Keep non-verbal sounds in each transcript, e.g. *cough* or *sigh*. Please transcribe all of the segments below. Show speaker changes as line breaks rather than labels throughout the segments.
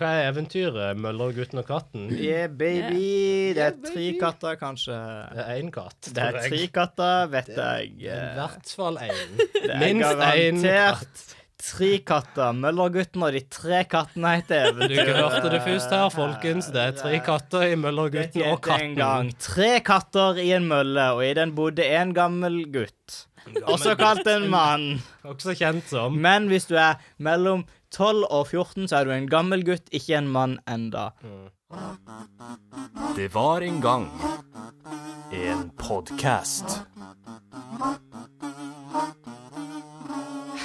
Hva er eventyret? Møller, gutten og katten? Det
Yeah, baby. Det er
Yeah,
tre
baby.
katter, kanskje.
er én katt.
Det er
tror jeg.
tre katter, vet
I
jeg.
hvert fall én.
*laughs* Det er
Minst én katt.
garantert tre katter. Møllergutten og de tre kattene heter
Du
Eventyr.
hørte det først her, folkens. Det er tre katter i
Det
Møllergutten og
het en gang
katten.
tre katter i en mølle, og i den bodde en gammel gutt. Også kalt en mann.
Også kjent som
Men hvis du er mellom 12 og 14, så er du en gammel gutt, ikke en mann enda.
Mm.
Det var en gang en podkast.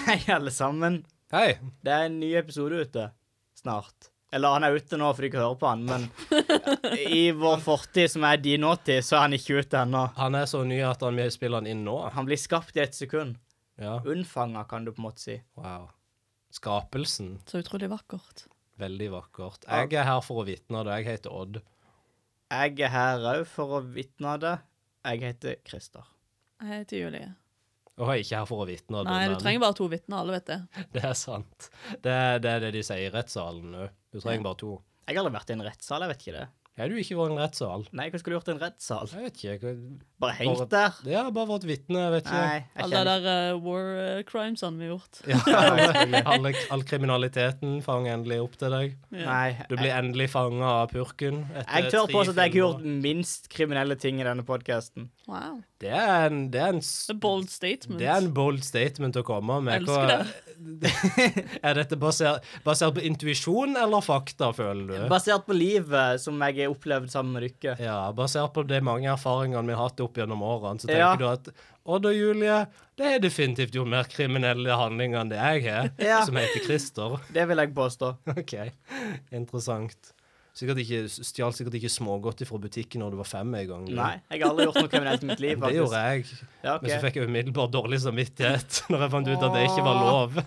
Hei, alle sammen.
Hei.
Det er en ny episode ute snart. Eller han er ute nå fordi du ikke hører på han, men i vår fortid, som er din nåtid, så er han ikke ute ennå.
Han er så ny at han vi spiller han inn nå.
Han blir skapt i et sekund.
Ja,
Unnfanga, kan du på en måte si.
wow. Skapelsen.
Så utrolig vakkert.
Veldig vakkert. Jeg er her for å vitne, og jeg heter Odd.
Jeg er her òg for å vitne det. Jeg heter Christer.
Jeg heter Julie.
Og jeg er ikke her for å vitne.
Nei, du trenger bare to vitner, alle vet det.
*laughs* Det er sant. Det er det, er det de sier i rettssalen nå. Du trenger bare to.
Jeg har aldri vært i en rettssal, jeg vet ikke det.
Er du ikke vært i en rettssal?
Nei, hva skulle jeg gjort i en rettssal?
Jeg vet ikke. hva-
Bare hengt der?
Det har bare vært vitne, jeg vet ikke.
Nei, jeg
Alle de
kjenner
der eh, war eh, crimesene vi har gjort.
*laughs* Ja, *laughs* alle, alle, all kriminaliteten fanger endelig opp til deg.
Ja.
Nei.
Du blir endelig fanga av purken. etter
Jeg tør
tre
påstå at jeg har gjort
filmer.
minst kriminelle ting i denne podkasten.
Wow.
Det er en, det er en s-
A bold statement.
Det er en bold statement å komme med.
Jeg elsker
er dette basert, basert på intuisjon eller fakta, føler du?
Basert på livet som jeg har opplevd sammen med dere.
Ja, basert på de mange erfaringene vi har hatt opp gjennom årene, så tenker
Ja.
du at Odd og Julie, det er definitivt gjort mer kriminelle handlinger enn det jeg har,
Ja.
som heter Christer.
Det vil jeg påstå.
*laughs* OK, interessant. Sikkert ikke, Stjal sikkert ikke smågodt fra butikken når du var fem en gang. du.
Nei, jeg har aldri gjort noe kriminelt i mitt liv.
Det gjorde jeg.
Ja, ok.
Men så fikk jeg umiddelbart dårlig samvittighet *laughs* når jeg fant ut at det ikke var lov.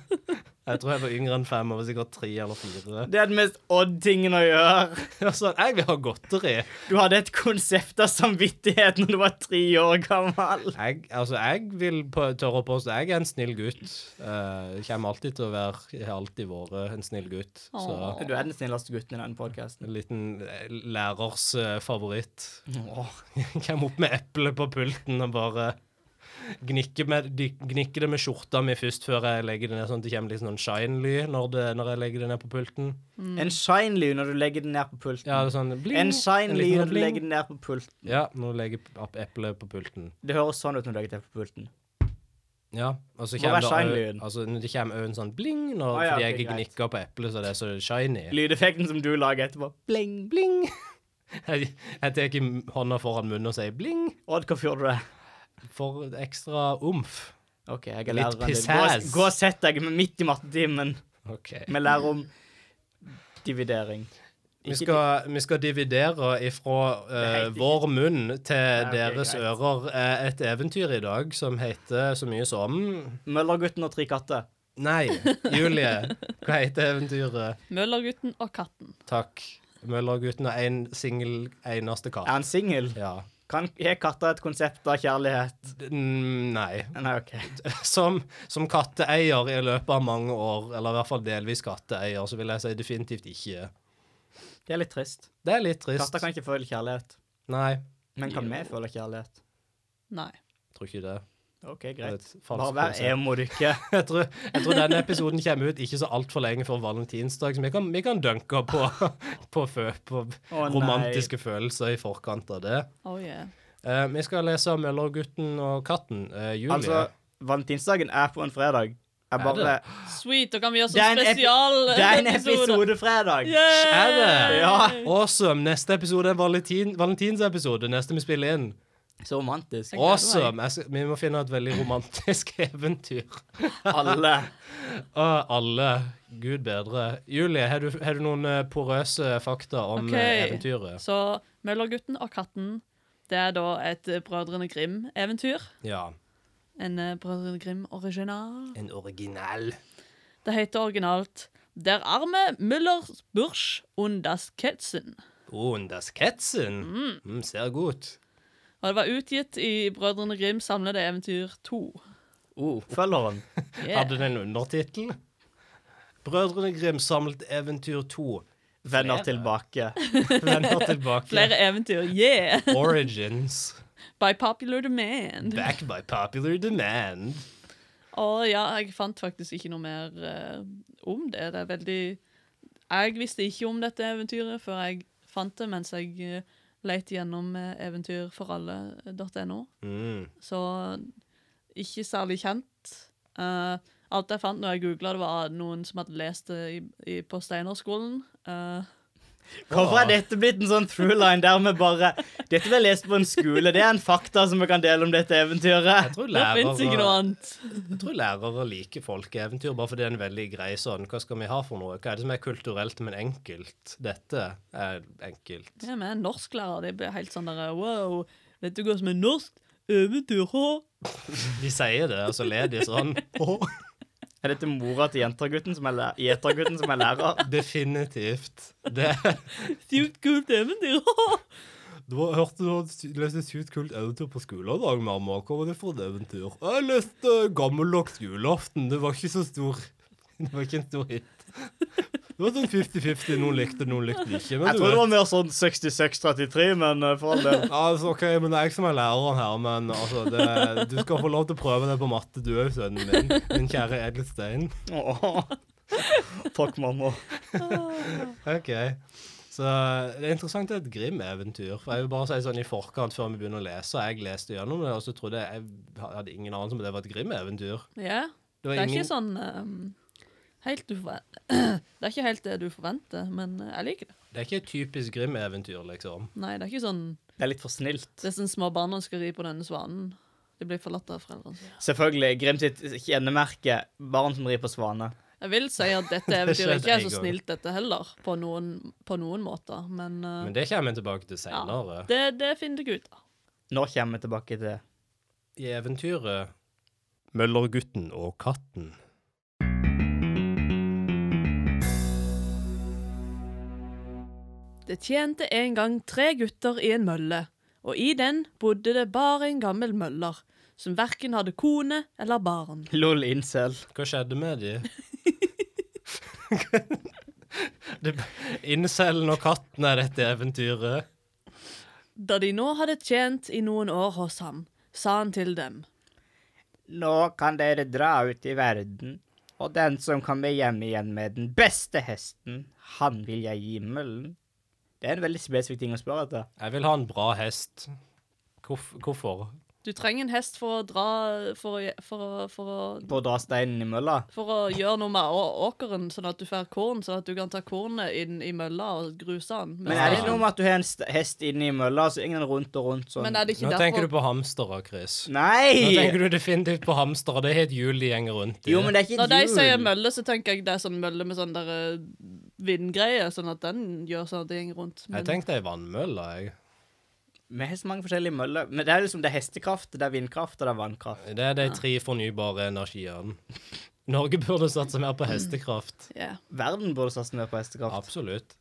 Jeg tror jeg var yngre enn fem, og var sikkert tre eller fire. *laughs*
Det er den mest odd-tingen å gjøre.
Jeg var sånn, jeg vil ha godteri.
Du hadde et konsept av samvittighet når du var tre år gammel.
Jeg, altså, jeg vil på, tørre å påstå jeg er en snill gutt. Uh, kommer alltid til å være, har alltid vært en snill gutt. Så
Åh.
Du er den snilleste gutten i denne podkasten.
en liten eh, lærers eh, favoritt. *laughs* Kommer opp med eplet på pulten og bare gnikker, med, de- gnikker det med skjorta mi først før jeg legger det ned, sånn at det kommer litt sånn shine-lyd når, det- når jeg legger det ned på pulten.
En shine-lyd når du legger den ned på pulten.
Ja, det er sånn bling.
En shine-lyd
liten
når du
bling.
legger den ned på pulten.
Ja, nå legger ap- eplet på pulten.
Det høres sånn ut når du legger det på pulten.
Ja, og så
Må
kommer
være
det au-
shine-lyden.
altså, når det kommer òg en sånn bling, når,
Å,
fordi
ja, ok,
jeg
greit.
gnikker på eplet så det er så shiny.
Lydeffekten som du lager etterpå. Bling, bling.
*laughs* Jeg, jeg tar m- hånda foran munnen og sier bling
Odd, hvorfor gjorde du det?
for ekstra omf.
OK, jeg
Litt
er læreren din. Gå,
pizzazz.
gå og sett deg midt i mattetimen.
OK.
Vi lærer om dividering.
Vi
Ikke
skal, vi skal dividere ifra eh,
Det heter ikke-
vår munn til
ok,
deres
greit.
ører eh, et eventyr i dag som heter så mye som
Møllergutten og tre katter.
Nei, Julie, hva heter eventyret?
Møllergutten og katten.
Takk. Møllergutten og én singel eneste
Er
katt.
han singel?
Ja.
Kan Har katter et konsept av kjærlighet?
D- n- Nei.
Nei, OK.
Som, som katteeier i løpet av mange år, eller i hvert fall delvis katteeier, så vil jeg si definitivt ikke.
Det er litt trist.
Det er litt trist.
Katter kan ikke føle kjærlighet.
Nei,
Men kan vi føle kjærlighet?
Nei.
tror ikke det.
OK,
Det er
greit.
et falskt
Bare vær
konsept.
emo, du *laughs* ikke.
*laughs* Jeg tror, jeg tror denne episoden kommer ut ikke så altfor lenge før valentinsdag, så vi kan, vi kan dunke på, *laughs* på, fø, på
Å, nei.
romantiske følelser i forkant av det.
Oh yeah.
Eh, vi skal lese om Møllergutten og katten. Eh, Julie.
Altså, valentinsdagen er på en fredag. Jeg
Er det?
bare
Sweet, da kan vi gjøre
Det er
sånn
en epi- Det
*laughs*
er en
spesialepisode.
episodefredag.
Er det?
Ja.
Awesome. Neste episode er valentin, valentinsepisode. Neste vi spiller inn.
Så
*laughs*
romantisk.
gleder meg.
Awesome. Jeg, skal- vi må finne et veldig romantisk *laughs* eventyr.
Alle.
Å, alle. Gud bedre. Julie, har du, har du noen eh, porøse fakta om
Ok.
eh, eventyret?
Så Møllergutten og katten, det er da et eh, Brødrene Grim-eventyr.
Ja.
En eh, Brødrene Grim-original.
En original.
Det heter originalt Der arme Müllers Bursch und das Kätzen.
Undas Ketzen. Mm. ser godt.
Og det var utgitt i Brødrene Grim samlede eventyr 2.
Oh, følgeren.
Yeah.
Hadde den undertittel? Brødrene Grim samlet eventyr 2.
Venner
Flere.
tilbake. *laughs*
Vender tilbake.
*laughs* Flere eventyr. Yeah!
Origins.
By popular demand. Å
Back by popular demand.
ja, jeg fant faktisk ikke noe mer eh, om det. Det er veldig Jeg visste ikke om dette eventyret før jeg fant det, mens jeg eh, lette gjennom eh, eventyrforalle.no.
Mm.
Så ikke særlig kjent. Eh, alt jeg fant når jeg googla, var noen som hadde lest det i, i, på Steinerskolen. Eh,
Hvorfor er dette blitt en sånn throughline der vi bare Dette ble lest på en skole. Det er en fakta som vi kan dele om dette eventyret.
Jeg tror
det fins ikke noe
lærere,
annet.
jeg tror lærere liker folkeeventyr bare fordi det er en veldig grei sånn Hva skal vi ha for noe? Hva er det som er kulturelt, men enkelt? Dette er enkelt.
Ja, men en norsklærer, det blir helt sånn der Wow, vet du hva som er norsk? Eventyr, hå?
De sier det, og så ler de *laughs* sånn.
Er dette mora til jentergutten som er, læ- gjetergutten som er
*laughs*
lærer?
Definitivt. *laughs* Det
Sykt kult eventyr, hå?
Du har hørt du har sy- lest et sykt kult eventyr på skolen i dag, mamma. Hva var det for et eventyr? Jeg leste Gammeldags julaften. Det var ikke så stor. *laughs* Det var ikke en stor hit. Det var sånn 50-50. Noen likte, noen likte ikke. Men
Jeg
du
tror det
vet.
var mer sånn 66-33, men eh, for all del.
Ja, altså, ok, men Det er jeg som er læreren her, men altså, det, du skal få lov til å prøve det på matte, du òg, sønnen min. Min kjære Edelstein.
Åh. Takk, mamma.
OK. Så det er interessant det er et Grim-eventyr. For jeg vil bare si sånn i forkant, før vi begynner å lese, og jeg leste gjennom det, og så trodde jeg jeg hadde ingen anelse om at det var et Grim-eventyr.
Ja.
Det
Det
var
er ikke
ingen
sånn ehm, helt du forventer. *clears throat* Det er ikke helt det du forventer, men eh, jeg liker det.
Det er ikke et typisk Grim-eventyr, liksom.
Nei, det er ikke sånn
Det er litt for snilt.
Det er sånn små barna skal ri på denne svanen. De blir forlatt av foreldrene sine.
Selvfølgelig. Grim sitt kjennemerke barn som rir på svane.
Jeg vil si at
*laughs*
dette eventyret
skjedde
ikke er
en
så
gang.
snilt, dette heller, på noen, på noen måter, men, eh,
Men det kommer jeg tilbake til
ja,
senere.
det, det finner dere ut av.
Nå kommer vi tilbake til
I eventyret Møllergutten og katten.
Det tjente en gang tre gutter i en mølle, og i den bodde det bare en gammel møller, som verken hadde kone eller barn.
LOL incel.
Hva skjedde med de? *laughs* Det- Incelen og katten er dette eventyret.
Da de nå hadde tjent i noen år hos ham, sa han til dem.
Nå kan dere dra ut i verden, og den som kommer hjem igjen med den beste hesten, han vil jeg gi møllen. Det er en veldig spesifikk ting å spørre etter.
Jeg vil ha en bra hest. Hvorf hvorfor?
Du trenger en hest for å dra For å, for å, for å,
På å dra steinen i mølla.
for å gjøre noe med å- åkeren, sånn at du får korn, sånn at du kan ta kornet inn i mølla og gruse den.
Men er det ikke noe med at du har en st- hest inne i mølla, så ingen rundt og rundt sånn?
Men er det ikke
Nå tenker du
derfor
på hamstere, Chris. Nå
Nei!
tenker du definitivt på hamstere. Det er et hjul de gjenger rundt i.
Jo, men det er ikke
Når de
et
sier
hjul.
mølle, så tenker jeg det er sånn mølle med sånn der eh, vindgreie, sånn at den gjør sånn at det går rundt. Men-
Jeg tenkte ei vannmølle, jeg.
Vi har så mange forskjellige møller. Men det er liksom det er hestekraft, det er vindkraft, og det er vannkraft.
Det er de tre fornybare energiene. Norge burde satse mer på hestekraft.
Ja.
Verden burde satse mer på hestekraft.
Absolutt.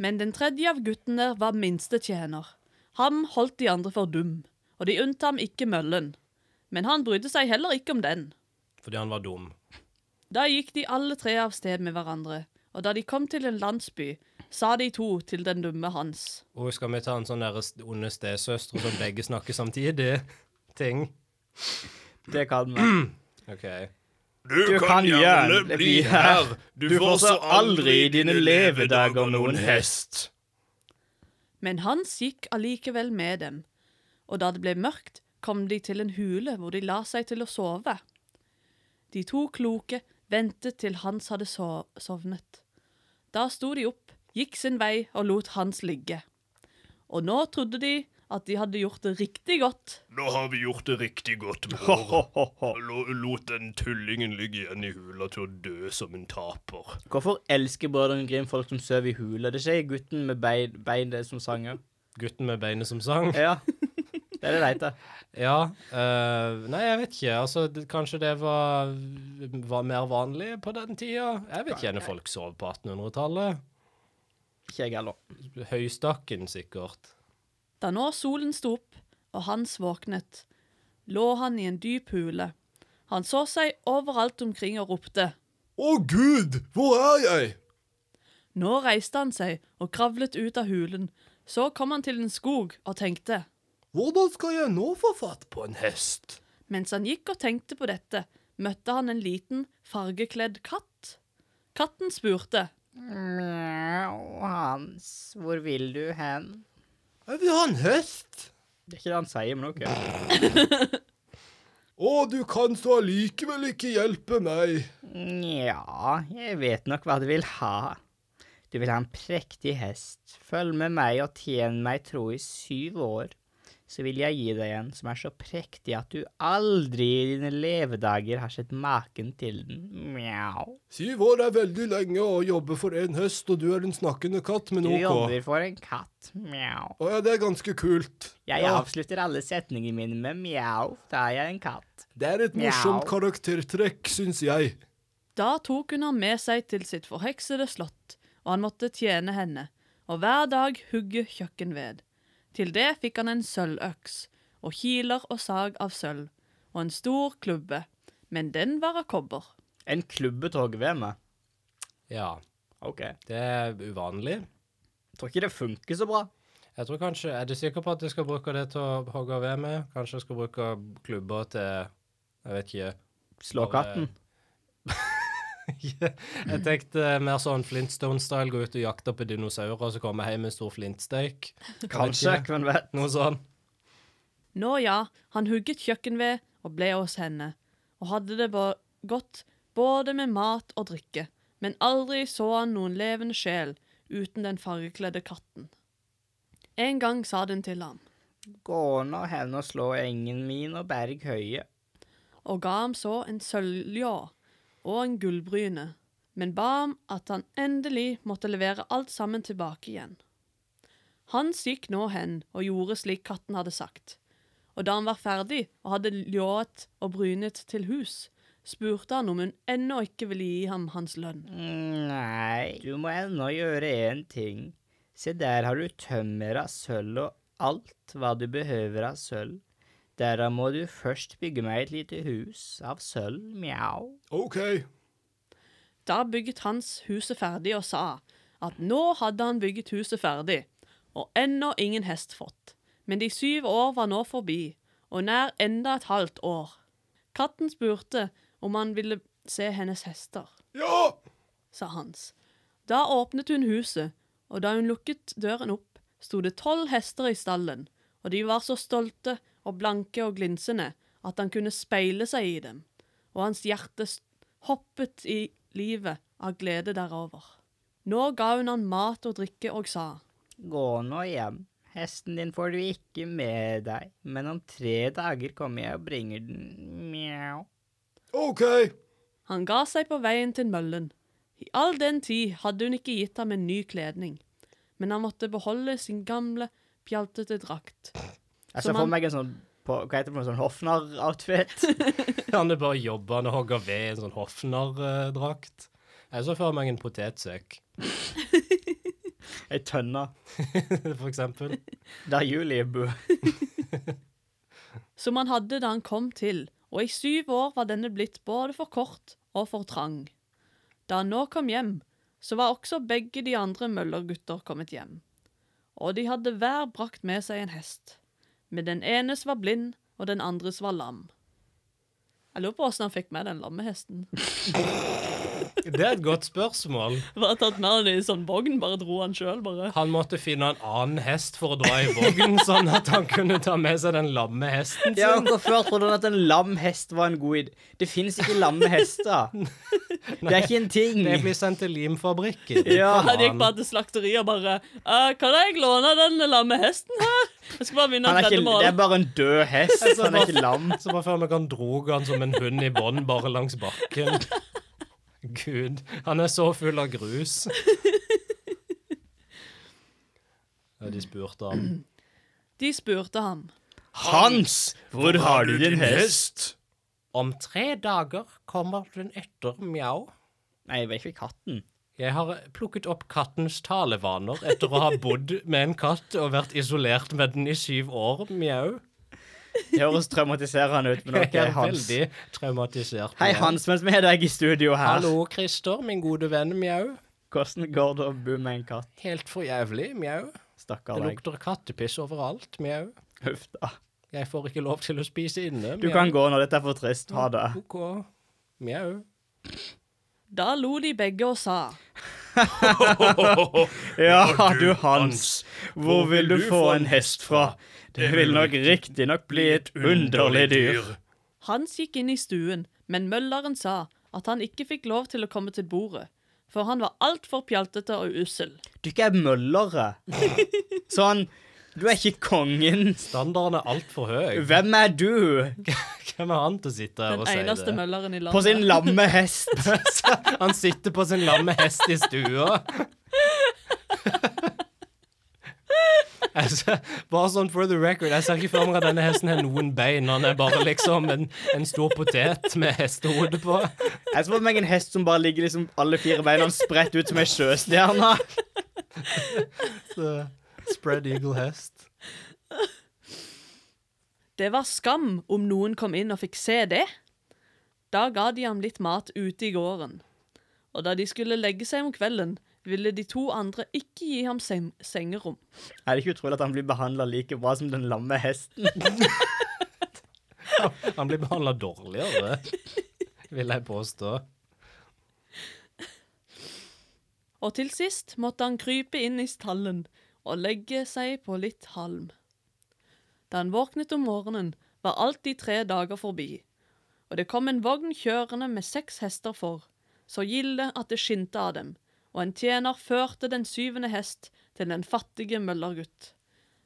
Men den tredje av guttene var minstetjener. Ham holdt de andre for dum, og de unnte ham ikke møllen. Men han brydde seg heller ikke om den.
Fordi han var dum.
Da gikk de alle tre av sted med hverandre, og da de kom til en landsby, sa de to til den dumme hans.
Og skal vi ta en sånn deres onde stesøstre som begge snakker samtidig? Ting.
Det kan vi.
OK.
Du kan gjerne bli her. Du får så aldri i dine levedager noen hest.
Men Hans gikk allikevel med dem, og da det ble mørkt, kom de til en hule hvor de la seg til å sove. De to kloke ventet til Hans hadde sov sovnet. Da sto de opp, gikk sin vei og lot Hans ligge. Og nå trodde de at de hadde gjort det riktig godt.
Nå har vi gjort det riktig *laughs* godt, bror.
Ho-ho-ho-ho.
Lo- Lot den tullingen ligge igjen i hula til å dø som en taper.
Hvorfor elsker Brødrene Grim folk som sover i hule? Det er ikke gutten med bein, bein det som sanger.
Gutten med beinet som sang.
Ja, det er det det heter.
Ja. øh, nei, jeg vet ikke. Altså, det, kanskje det var, var mer vanlig på den tida? Jeg vet ikke når folk sov på 1800-tallet.
Ikke jeg heller.
Høystakken, sikkert.
Da nå solen sto opp og Hans våknet, lå han i en dyp hule. Han så seg overalt omkring og ropte.
Å, gud! Hvor er jeg?
Nå reiste han seg og kravlet ut av hulen. Så kom han til en skog og tenkte.
Hvordan skal jeg nå få fatt på en hest?
Mens han gikk og tenkte på dette, møtte han en liten, fargekledd katt. Katten spurte.
Mjau, Hans, hvor vil du hen?
Jeg vil ha en hest.
Det er ikke det han sier, men OK.
Å, du kan så allikevel ikke hjelpe
*laughs*
meg.
Nja, jeg vet nok hva du vil ha. Du vil ha en prektig hest. Følg med meg og tjen meg tro i syv år. Så vil jeg gi deg en som er så prektig at du aldri i dine levedager har sett maken til den. Mjau.
Syv år er veldig lenge å jobbe for en hest, og du er en snakkende katt, men
Du
OK.
jobber for en katt. Mjau.
Å ja, det er ganske kult.
Jeg
ja,
avslutter alle setningene mine med mjau. Da er jeg en katt.
det er et
Mjau.
morsomt karaktertrekk, syns jeg.
Da tok hun han med seg til sitt forheksede slott, og han måtte tjene henne, og hver dag hugge kjøkkenved. Til det fikk han en sølvøks, og kiler og sag av sølv, og en stor klubbe, men den var av kobber.
En klubbetog ved meg.
Ja,
OK. Jeg
det er uvanlig.
tror ikke det funker så bra.
Jeg tror kanskje, Er du sikker på at jeg skal bruke det til å hogge ved med? Kanskje jeg skal bruke klubber til Jeg vet ikke. *laughs*
Slå
Bare-
katten.
Jeg tenkte mer sånn Flintstone-style, gå ut og jakte på dinosaurer, og så komme hjem med en stor flintsteik. Jeg vet
Kanskje,
eh, ikke.
hvem vet.
Noe sånn.
Nå ja, han hugget kjøkkenved og ble hos henne, og hadde det bo- godt både med mat og drikke, men aldri så han noen levende sjel uten den fargekledde katten. En gang sa den til ham.
Gå nå hen og slå engen min og berg høye.
og ga ham så en sølvljå og en gullbryne, men ba ham at han endelig måtte levere alt sammen tilbake igjen. Hans gikk nå hen og gjorde slik katten hadde sagt, og da han var ferdig og hadde ljået og brynet til hus, spurte han om hun ennå ikke ville gi ham hans lønn.
Nei, du må ennå gjøre én ting. Se der har du tømmer av sølv og alt hva du behøver av sølv. Derav må du først bygge meg et lite hus av sølv, mjau.
OK.
Da bygget Hans huset ferdig og sa at nå hadde han bygget huset ferdig, og ennå ingen hest fått. Men de syv år var nå forbi, og nær enda et halvt år. Katten spurte om han ville se hennes hester,
Ja!
sa Hans. Da åpnet hun huset, og da hun lukket døren opp, sto det tolv hester i stallen, og de var så stolte og blanke og glinsende at han kunne speile seg i dem, og hans hjerte s- hoppet i livet av glede derover. Nå ga hun han mat og drikke og sa,
Gå nå hjem. Hesten din får du ikke med deg, men om tre dager kommer jeg og bringer den, mjau.
OK.
Han ga seg på veien til møllen. I all den tid hadde hun ikke gitt ham en ny kledning, men han måtte beholde sin gamle, pjaltete drakt.
Jeg
Som
ser for
han-
meg en sånn på, Hva heter det, for noe sånn hoffnarr-outfit?
*laughs* Han er bare jobbende og hogger ved i en sånn hoffnardrakt. Jeg så for meg en potetsekk,
Ei tønne.
*laughs* for eksempel.
Der Julie bor.
som han hadde da han kom til, og i syv år var denne blitt både for kort og for trang. Da han nå kom hjem, så var også begge de andre møllergutter kommet hjem, og de hadde hver brakt med seg en hest, men den enes var blind, og den andres var lam. Jeg lurer på åssen han fikk med den *laughs* lammehesten.
Det er et godt spørsmål.
Bare tatt med den i sånn vogn, bare dro han sjøl, bare.
Han måtte finne en annen hest for å dra i vogn, *laughs* sånn at han kunne ta med seg den lamme hesten
*laughs*
sin.
Ja, Hvorfor trodde han at en lam hest var en god idé? Det finnes ikke lamme *laughs* hester. Det er ikke en ting.
Det blir sendt til limfabrikken.
*laughs* Ja.
Han gikk bare til slakteriet og bare «Eh, 'Kan jeg låne den lammehesten her?' Jeg skal bare vinne
Han
et
er ikke,
veddemål.
det er bare en død hest. Han er ikke lam.
Så bare før vi kan droge han som en hund i bånd bare langs bakken. *laughs* Gud, han er så full av
*laughs*
grus. Ja, de spurte han.
De spurte ham.
Hans, hvor har du din hest?
Om tre dager kommer den etter mjau.
Nei, jeg vet ikke katten.
Jeg har plukket opp kattens talevaner etter å ha bodd med en katt og vært isolert med den i syv år, mjau.
Det høres traumatiserende *laughs* ut, men
Jeg
OK,
er
Hans.
veldig traumatisert.
Hei,
mjau.
Hans, mens vi har deg i studio her.
Hallo, Christer, min gode venn, mjau.
Hvordan går det å bo med en katt?
Helt for jævlig, mjau.
Stakkar
Det
deg.
lukter kattepiss overalt, mjau.
Huff da.
Jeg får ikke lov til å spise inne,
Du kan gå når dette er for trist. Ha det.
OK. Mjau.
Da lo de begge og sa.
Ja, du Hans, hvor vil du få en hest fra? Det vil nok riktignok bli et underlig dyr.
Hans gikk inn i stuen, men mølleren sa at han ikke fikk lov til å komme til bordet, for han var altfor pjaltete og ussel.
Du ikke er møllere. *laughs* Sånn, du er ikke kongen.
Standarden er altfor høy.
Hvem er du?
Hvem er han til å sitte her
Den
og si
eneste
det?
mølleren i
På sin
landet.
lamme hest.
*laughs* Han sitter på sin lamme hest i stua. *laughs* Jeg ser- Bare sånn for the record, jeg ser ikke for meg at denne hesten har noen bein. Han er bare liksom en, en stor potet med hestehode på.
*laughs* Jeg så for meg en hest som bare ligger liksom alle fire beina spredt ut som ei sjøstjerne.
*laughs* Så, Spread eagle hest.
Det var skam om noen kom inn og fikk se det. Da ga de ham litt mat ute i gården. Og da de skulle legge seg om kvelden, ville de to andre ikke gi ham seng sengerom.
Er det ikke utrolig at han blir behandla like bra som den lamme hesten?
Han blir behandla dårligere, vil jeg påstå.
Og til sist måtte han krype inn i stallen og legge seg på litt halm. Da han våknet om morgenen, var alt de tre dager forbi, og det kom en vogn kjørende med seks hester for, så gilde at det skinte av dem, og en tjener førte den syvende hest til den fattige møllergutt.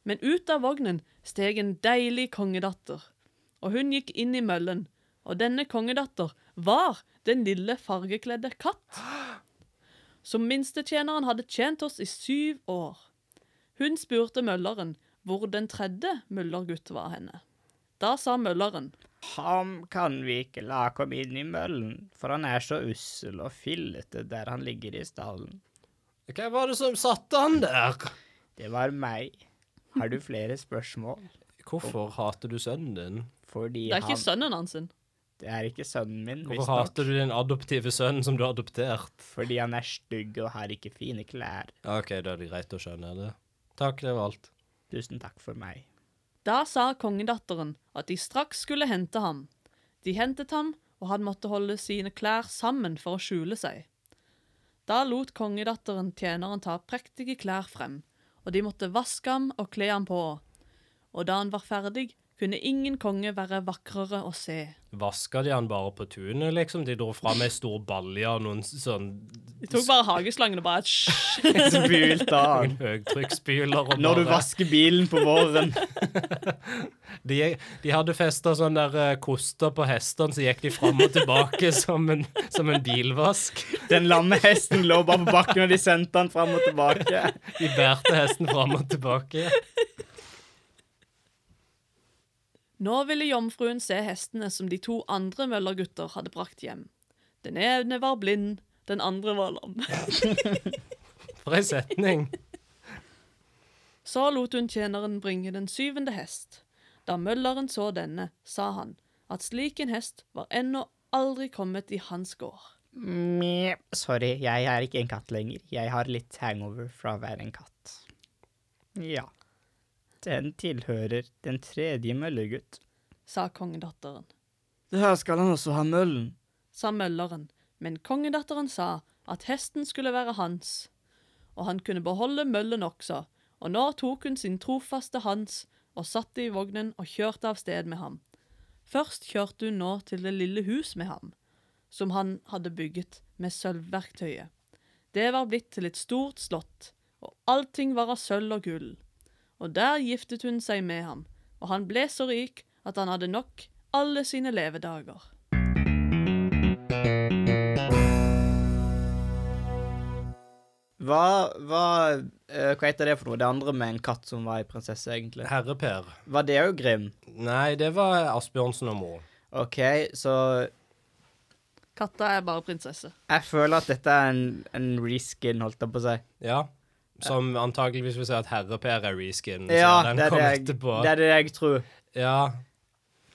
Men ut av vognen steg en deilig kongedatter, og hun gikk inn i møllen, og denne kongedatter var den lille fargekledde katt som minstetjeneren hadde tjent oss i syv år. Hun spurte mølleren hvor den tredje møllergutt var henne. Da sa mølleren,
Ham kan vi ikke la komme inn i møllen, for han er så ussel og fillete der han ligger i stallen.
Hvem var det som satte han der?
Det var meg. Har du flere spørsmål?
Hvorfor hater du sønnen din?
Fordi
det er ikke
han
sønnen hans sin.
Det er ikke sønnen min,
Hvorfor
visstnok.
hater du din adoptive sønn som du har adoptert?
Fordi han er stygg og har ikke fine klær.
Ja, OK, da er det greit å skjønne det. Takk, det var alt.
Tusen takk for
*laughs*
meg.
Da sa kongedatteren at de straks skulle hente ham. De hentet ham, og han måtte holde sine klær sammen for å skjule seg. Da lot kongedatteren tjeneren ta prektige klær frem, og de måtte vaske ham og kle ham på. Og da han var ferdig, kunne ingen konge være vakrere å se.
Vaska de han bare på tunet, liksom? De dro fram ei stor balje og noen sånn
De tok bare hageslangen og bare «Hysj!» *laughs*
Spylt av.
noen høytrykksspyler og
Når du
bare
vasker bilen på våren.
de, de hadde festa sånn der eh, koster på hestene, så gikk de fram og tilbake *laughs* som en, som en bilvask.
Den lamme hesten lå bare på bakken, og de sendte han fram og tilbake.
De bærte hesten fram og tilbake.
Nå ville jomfruen se hestene som de to andre møllergutter hadde brakt hjem. Den ene var blind, den andre var lam. *laughs*
For ei setning.
Så lot hun tjeneren bringe den syvende hest. Da mølleren så denne, sa han at slik en hest var ennå aldri kommet i hans gård.
Mjau. Sorry, jeg er ikke en katt lenger. Jeg har litt hangover fra å være en katt. Ja. Den tilhører den tredje møllegutt.
sa kongedatteren.
Der skal han også ha møllen.
sa mølleren, men kongedatteren sa at hesten skulle være hans, og han kunne beholde møllen også, og nå tok hun sin trofaste Hans og satte i vognen og kjørte av sted med ham. Først kjørte hun nå til det lille hus med ham, som han hadde bygget med sølvverktøyet. Det var blitt til et stort slott, og allting var av sølv og gull. Og der giftet hun seg med ham, og han ble så rik at han hadde nok alle sine levedager.
Hva, hva, eh, hva heter det for noe? Det andre med en katt som var ei prinsesse, egentlig.
Herre-Per.
Var det òg Grim?
Nei, det var Asbjørnsen og Mo.
OK, så
Katta er bare prinsesse.
jeg føler at dette er en, en reskin, holdt jeg på å si.
Ja. Som antakeligvis vil si at Herre-Per er reskin. så
Ja,
Mm. den
det er
kom
det jeg,
etterpå.
det er det jeg tror.
Ja.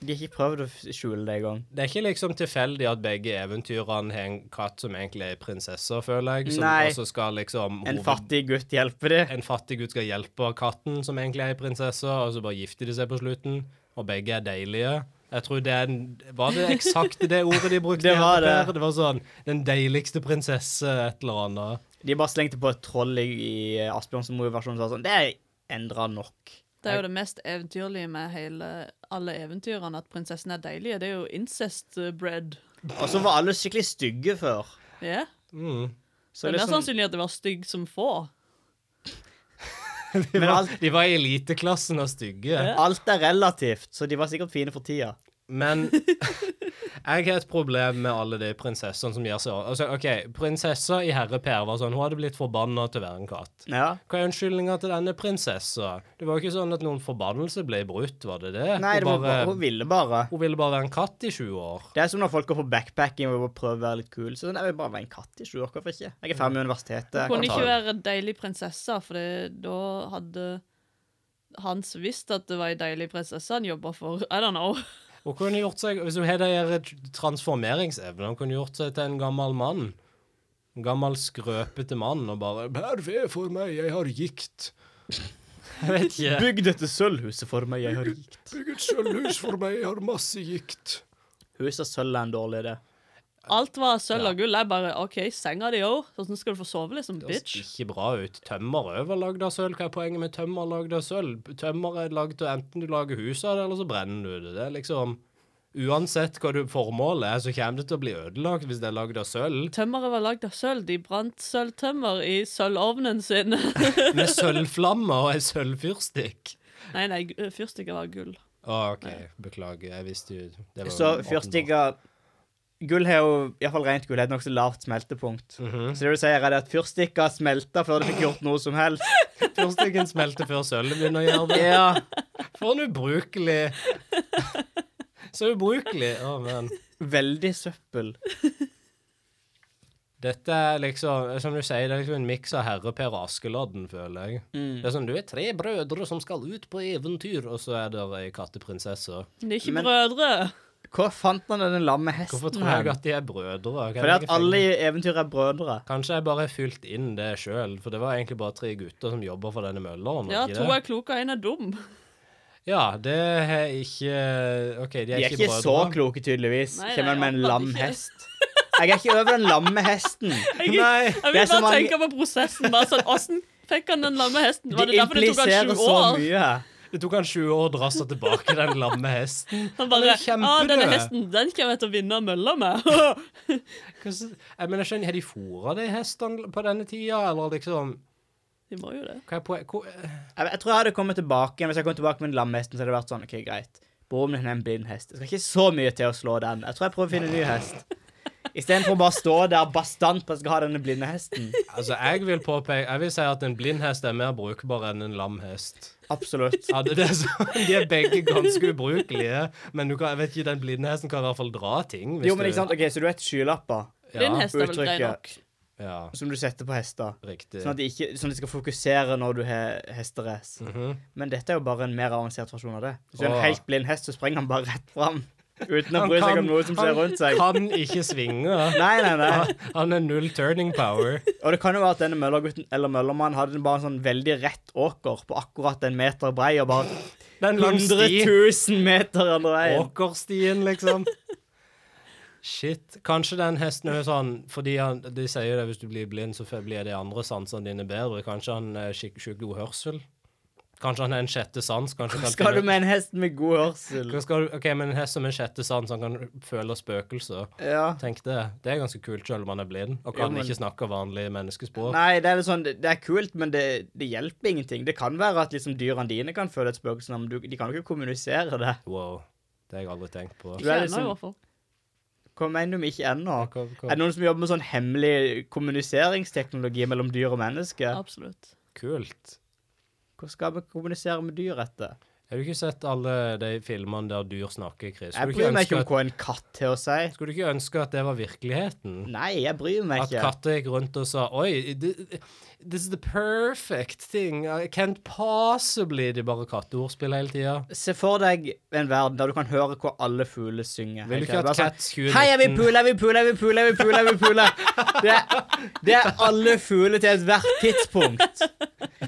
De har ikke prøvd å f- skjule det engang.
Det er ikke liksom tilfeldig at begge eventyrene har en katt som egentlig er prinsesse, føler jeg. Som
Nei.
også skal liksom
En
hoved-
fattig gutt hjelper det.
en fattig gutt skal hjelpe katten, som egentlig er en prinsesse, og så bare gifter de seg på slutten, og begge er deilige. Jeg tror det er en, Var det eksakt det ordet de brukte?
*laughs* Det
her,
var det.
Per? Det var sånn Den deiligste prinsesse, et eller annet.
De bare slengte på et troll i, i Asbjørnsen-versjonen som sa sånn Det er endra nok.
Det er jo det mest eventyrlige med hele, alle eventyrene, at prinsessen er deilig. Det er jo incest eh, bread.
Og så var alle skikkelig stygge før.
Ja.
Mm.
Så
Det er sånn mer
liksom,
sannsynlig at det var stygg som få.
De,
*laughs* Men
var,
alt-
de var i eliteklassen og stygge.
Ja.
alt er relativt, så de var sikkert fine for tida. *laughs*
Men jeg har et problem med alle de prinsessene som gjør seg altså, OK, prinsessa i Herre Per var sånn Hun hadde blitt forbanna til å være en katt.
Ja.
Hva er unnskyldninga til denne prinsessa? Det var jo ikke sånn at noen forbannelse ble brutt, var det det?
Nei,
Hun
det var bare,
bare-
hun ville bare.
Hun ville bare være en katt i 20 år.
Det er som når folk går på backpacking og prøver å være litt kule. Så sånn, jeg vil bare være en katt i sju år, hvorfor ikke? Jeg er ferdig med universitetet. jeg
Kunne
kan ta
ikke
det.
være deilig prinsesse, for det, da hadde Hans visst at det var ei deilig prinsesse han jobba for. I don't know.
Hun kunne gjort seg, Hvis hun har de her transformeringsevnene, hun kunne gjort seg til en gammel mann. En gammel, skrøpete mann og bare *laughs* 'Vær ved for meg, jeg har gikt'. Jeg vet ikke.
Bygg dette sølvhuset for meg, jeg har rikt.
Bygg et sølvhus for meg, jeg har masse gikt.
Huset av sølv er en dårlig idé.
Alt var sølv og gull. Jeg bare OK, senga di òg. Hvordan skal du få sove, liksom,
Det ser
bitch?
ikke bra ut. Tømmer er vel lagd av sølv. Hva er poenget med tømmer lagd av sølv? Tømmer er lagd av enten du lager hus av det, eller så brenner du det. Det er liksom Uansett hva du formålet er, så kommer det til å bli ødelagt hvis det er lagd av sølv.
Tømmeret var lagd av sølv. De brant sølvtømmer i sølvovnen sin. *laughs*
*laughs*
Med sølvflamme og ei sølvfyrstikk.
nei, nei, gu- fyrstikker var gull.
Å, OK, beklager. Jeg visste jo det var
Så
jo åpenbart.
fyrstikker Gull har jo iallfall rent gull har et nokså lavt smeltepunkt.
Mhm.
Så det du sier, er det at fyrstikker smelta før du fikk gjort noe som helst.
Fyrstikken smelter før sølvet begynner å gjøre det.
Ja.
For en ubrukelig Så ubrukelig. Å, men.
Veldig søppel.
Dette er liksom Som du sier, det er liksom en miks av Herre-Per og Askeladden, føler jeg.
Mm.
Det er sånn, Du er tre brødre som skal ut på eventyr, og så er det ei katteprinsesse.
Det er ikke
Men-
brødre.
Hvor fant man den lamme
Hvorfor tror
hesten
jeg
hen?
at de er brødre? Kan
Fordi
jeg
at
ikke
alle
finne-
i eventyr er brødre.
Kanskje jeg bare har fylt inn det sjøl, for det var egentlig bare tre gutter som jobber for denne mølleren.
Ja,
ikke
to
det?
er kloke og én er dum.
Ja, det er ikke OK, de er,
De er
ikke,
ikke
brødre.
så kloke, tydeligvis.
Nei, nei,
Kommer han med en
åpenbart
lam
ikke.
hest? Jeg er ikke over den lamme hesten.
Nei.
*laughs* Jeg
Det
vil
er så
bare
mange-
tenke på prosessen. Bare sånn, Åssen fikk han den lamme hesten? Var
De
det derfor det tok
impliserer
han sju
så
år?
mye her.
Det tok han 20 år å dra seg tilbake, den lamme hesten.
*laughs*
Han
Han bare
er kjempedød.
Ja, denne hesten, den kommer jeg til å vinne mølla med. *laughs*
Hvordan- Jeg mener, jeg skjønner, Har de fôra de hestene på denne tida, eller liksom
De må jo det.
Hva er poen- hvor-
Jeg, jeg tror jeg hadde kommet tilbake igjen. Hvis jeg kom tilbake med en lammehesten, så hadde det vært sånn OK, greit. Broren min er en blind hest. Det skal ikke så mye til å slå den. Jeg tror jeg prøver å finne en ny hest. Istedenfor å bare stå der bastant på at jeg skal ha denne blinde hesten.
Altså, jeg vil påpeke Jeg vil si at en blind hest er mer brukbar enn en lam hest.
Absolutt.
Ja, det, det er sånn, *laughs* de er begge ganske ubrukelige, men du kan, jeg vet ikke, den blinde hesten kan i hvert fall dra ting. Hvis
Jo, men ikke
du,
sant. OK, så du vet skylapper
Din hest er vel grei
uttrykket.
nok.
Ja,
som du setter på hester.
riktig.
Sånn at, de ikke, sånn at de skal fokusere når du har hesterace. Men dette er jo bare en mer avansert versjon av det. Hvis du er en
Åh.
helt blind hest, så springer han bare rett fram. Uten å
Han
bry seg
kan-
om noe som skjer rundt seg.
Kan ikke svinge.
Nei, nei,
*laughs*
nei.
Han har null turning power.
Og det kan jo være at denne møllergutten eller møllermannen hadde bare en sånn veldig rett åker på akkurat en meter brei, og bare
Den
100 000 meter andre veien.
Åkerstien, liksom. Shit. Kanskje den hesten er sånn Fordi han, de sier jo det hvis du blir blind, så blir de andre sansene dine bedre. Kanskje han er skik- sjukt god hørsel? Kanskje han er en sjette sans? Kanskje han kan
Skal du
finne-
med en hest med god hørsel?
Hva skal du, OK, men en hest som en sjette sans, han kan føle spøkelser.
Ja.
Tenk det. Det er ganske kult selv om han er blind og kan
Jo, men-
ikke snakke vanlig menneskespråk.
Nei, det er litt sånn, det det er kult, men det, det hjelper ingenting. Det kan være at liksom dyrene dine kan føle et spøkelse, men du, de kan jo ikke kommunisere det.
Wow. Det har jeg aldri tenkt på.
Du er
Ikke ennå,
liksom-
i hvert fall.
Hva mener du med ikke ennå?
Hva- hva-
Er det noen som jobber med sånn hemmelig kommuniseringsteknologi mellom dyr og mennesker?
Absolutt.
Kult.
Hvordan skal vi kommunisere med dyr etter?
Har du ikke sett alle de filmene der dyr snakker, Chris?
Jeg
Skulle du ikke
bryr meg
ønske
ikke om
at,
hva en katt har å si.
skulle du ikke ønske at det var virkeligheten?
Nei, jeg bryr meg
At
ikke.
katter gikk rundt og sa Oi, thi- this is the perfect thing. I can't possibly De bare katteordspill hele tida.
Se for deg en verden der du kan høre hvor alle fugler synger.
Vil du
Helt
ikke
klart.
at
Bare
Cats
sånn,
2019
Hei, jeg vil pule, jeg vil pule, jeg vil pule, jeg vil pule, jeg vil pule. Det er, det er alle fugler til ethvert tidspunkt.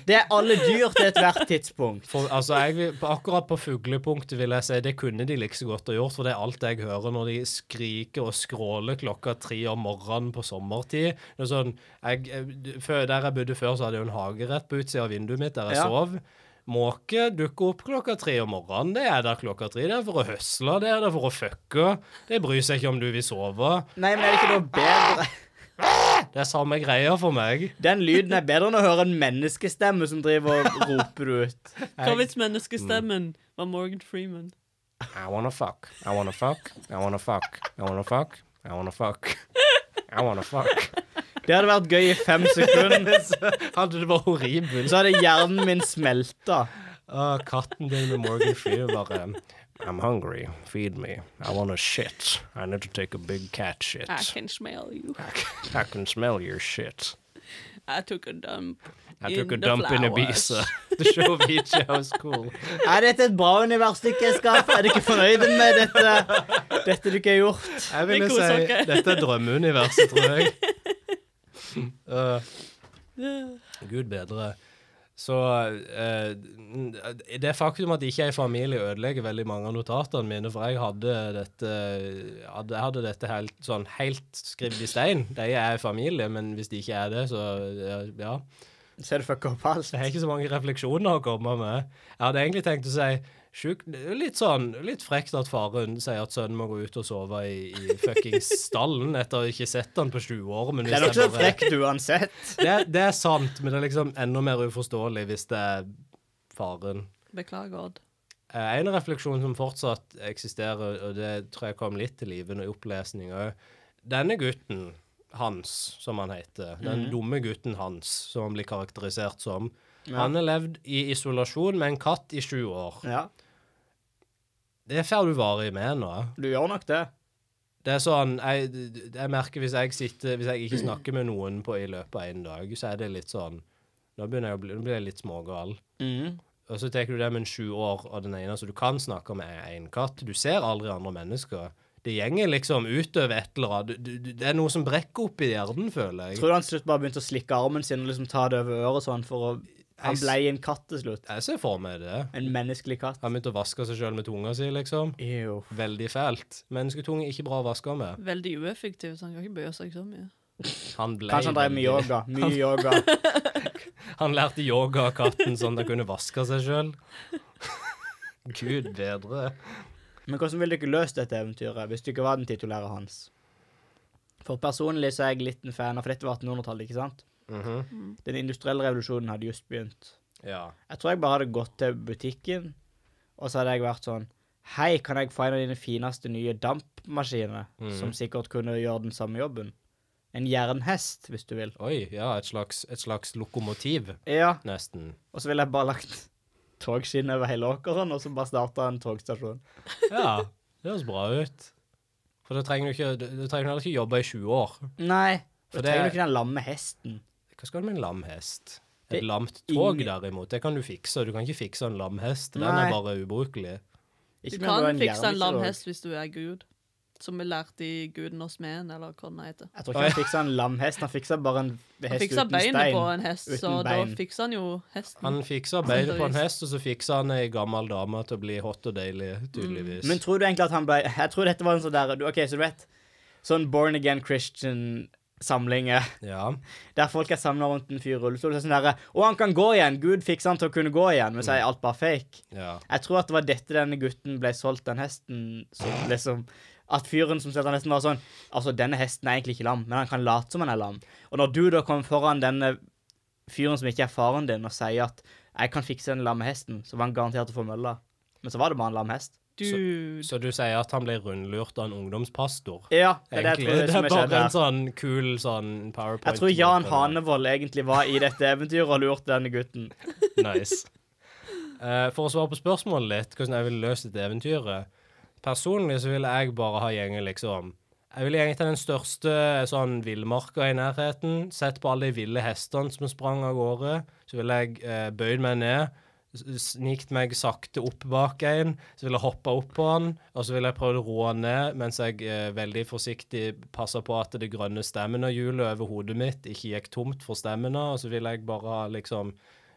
Det er alle dyr til ethvert tidspunkt.
For, altså, jeg, vil- på- akkurat på fuglepunktet vil jeg si det kunne de like så godt ha gjort, for det er alt jeg hører når de skriker og skråler klokka tre om morgenen på sommertid. Det er sånn, jeg, jeg- før, der jeg bodde før, så hadde jeg jo en hage rett på utsida av vinduet mitt der jeg
Ja.
sov. Måke dukker opp klokka tre om morgenen. Det er der klokka tre. Det er for å høsle, det er der for å fucke. Det bryr seg ikke om du vil sove.
Nei, men er det ikke noe bedre?
Det er samme greia for meg.
Den lyden er bedre enn å høre en menneskestemme som driver og roper det ut.
Hva hvis menneskestemmen var Morgan Freeman?
I wanna fuck. I wanna fuck. I wanna fuck. I wanna fuck. I wanna fuck. I wanna fuck.
Det hadde vært gøy i fem sekunder.
Hadde det vært horribelt.
Så hadde hjernen min smelta.
Ah, katten din med Morgan Freeman bare I'm hungry. Feed me. I want a shit. I need to take a big cat shit.
I can smell you.
I can- I can smell your shit.
I took a dump.
I took a
In the
dump in
flowers.
Ibiza. *laughs* The show of Ibiza was cool.
Er dette et bra universitetsskap? Er du ikke fornøyd med dette, dette du ikke har gjort?
Jeg
ville
ville
Det koser si,
si
dere.
dette er drømmeuniverset, tror jeg. Eh, Gud bedre. Så eh, det faktum at jeg ikke er i familie, ødelegger veldig mange av notatene mine. For jeg hadde dette, hadde, jeg hadde dette helt, sånn, helt skrevet i stein. De er i familie, men hvis de ikke er det, så eh, ja.
Så er det altså. fucka opp alt.
Jeg har ikke så mange refleksjoner å komme med. Jeg hadde egentlig tenkt å si sjuk, litt sånn, litt frekt at faren sier at sønnen må gå ut og sove i, i fuckings stallen etter å ikke ha sett han på 20 år. Men
Det er
hvis
nok så
jeg bare-
frekt uansett.
det, er- det er sant, men det er liksom enda mer uforståelig hvis det er faren.
Beklager, Odd.
Eh, En refleksjon som fortsatt eksisterer, og det tror jeg kom litt til live under opplesning òg Denne gutten hans, som han heter, den dumme gutten hans, som han blir karakterisert som Han har levd i isolasjon med en katt i sju år.
Ja,
Det får du vare med nå.
du gjør nok det.
Det er sånn, jeg, jeg merker hvis jeg sitter, hvis jeg ikke snakker med noen på i løpet av en dag, så er det litt sånn, nå begynner jeg å bli, nå blir jeg litt smågal.
Mm.
Og så tenker du det med en sju år, og den ene, så du kan snakke med en katt, du ser aldri andre mennesker. Det gjenger liksom utover et eller annet, Du- du- det er noe som brekker opp i hjernen, føler jeg.
Tror du han til slutt bare begynte å slikke armen sin og liksom ta det over øret sånn for å Han
Jeg s-
blei en katt til slutt.
Jeg ser for meg det.
En menneskelig katt.
Han begynte å vaske seg selv med tunga si, liksom.
Ew.
Veldig fælt. Mennesketunge er ikke bra å vaske med.
Veldig ueffektiv, så han kan ikke bøye seg så mye.
Han ble
Kanskje han drev
veldig-
med yoga. *laughs* Mye yoga.
*laughs* Han lærte yoga av katten sånn at han kunne vaske seg sjøl. *laughs* Gud bedre.
Men hvordan ville dere løst dette eventyret hvis du ikke var den titulære hans? For personlig så er jeg litt en fan av For dette var 1800-tallet, ikke sant?
Mm-hmm.
Den industrielle revolusjonen hadde just begynt.
Ja.
Jeg tror jeg bare hadde gått til butikken, og så hadde jeg vært sånn Hei, kan jeg få en av dine fineste nye dampmaskiner,
Mm.
som sikkert kunne gjøre den samme jobben? En jernhest, hvis du vil.
Oi, ja, et slags, et slags lokomotiv,
Ja,
nesten.
og så ville jeg bare lagt togskinner over hele åkeren, og så bare starta en togstasjon.
Ja, det høres bra ut. For da trenger du ikke Du du trenger heller ikke jobbe i 20 år.
Nei,
For det-
da trenger du ikke den lamme hesten.
Hva skal du med en lam hest?
Det
Et
er
lamt tog,
ingen-
derimot, det kan du fikse. Du kan ikke fikse en lam hest. Den
Nei.
er bare ubrukelig.
Du
Ikke med å være
kan
en
fikse en
jernkirurg.
lam hest hvis du er gud. Som vi lærte i Guden og smeden, eller hva den heter.
Jeg tror ikke han fiksa en lam hest, han fiksa bare en
Han
hest
fiksa
uten
beinet
stein.
på en hest,
Uten
så
bein.
da fiksa han jo hesten.
Han fiksa beinet på en
Sannsynligvis.
hest, og så fiksa han ei gammel dame til å bli hot og deilig, tydeligvis.
Men tror du egentlig at han ble Jeg tror dette var en sånn der du- OK, så du vet Sånn born again Christian-samlinger
Ja.
*laughs* der folk er samla rundt en fyr i rullestol. Så er det sånn derre Å, han kan gå igjen! Gud fikser han til å kunne gå igjen. Men så er alt bare fake.
ja.
Jeg tror at det var dette denne gutten ble solgt, den hesten som liksom At fyren som solgte den hesten, var sånn Altså, denne hesten er egentlig ikke lam, men han kan late som han er lam. Og når du da kommer foran denne fyren som ikke er faren din, og sier at 'jeg kan fikse den lamme hesten', så var han garantert å få mølla. Men så var det bare en lam hest.
Dude.
Så du sier at han ble rundlurt av en ungdomspastor?
Ja, det er det
Egentlig.
jeg tror det
Det
som
er
er skjedd
bare en
her.
sånn kul sånn powerpoint.
Jeg tror
*laughs*
Jan Hanevold egentlig var i dette eventyret og lurte denne gutten.
Nice. Eh, for å svare på spørsmålet litt, hvordan jeg ville løst dette eventyret Personlig så ville jeg bare ha gjengen, liksom. Jeg ville gjengen til den største sånn villmarka i nærheten. Sett på alle de ville hestene som sprang av gårde. Så ville jeg eh, bøyd meg ned, s- snikt meg sakte opp bak en. Så ville jeg hoppa opp på han, og så ville jeg prøvd å roe han ned mens jeg eh, veldig forsiktig passa på at det grønne stamina-hjulet over hodet mitt ikke gikk tomt for stamina, og så ville jeg bare ha liksom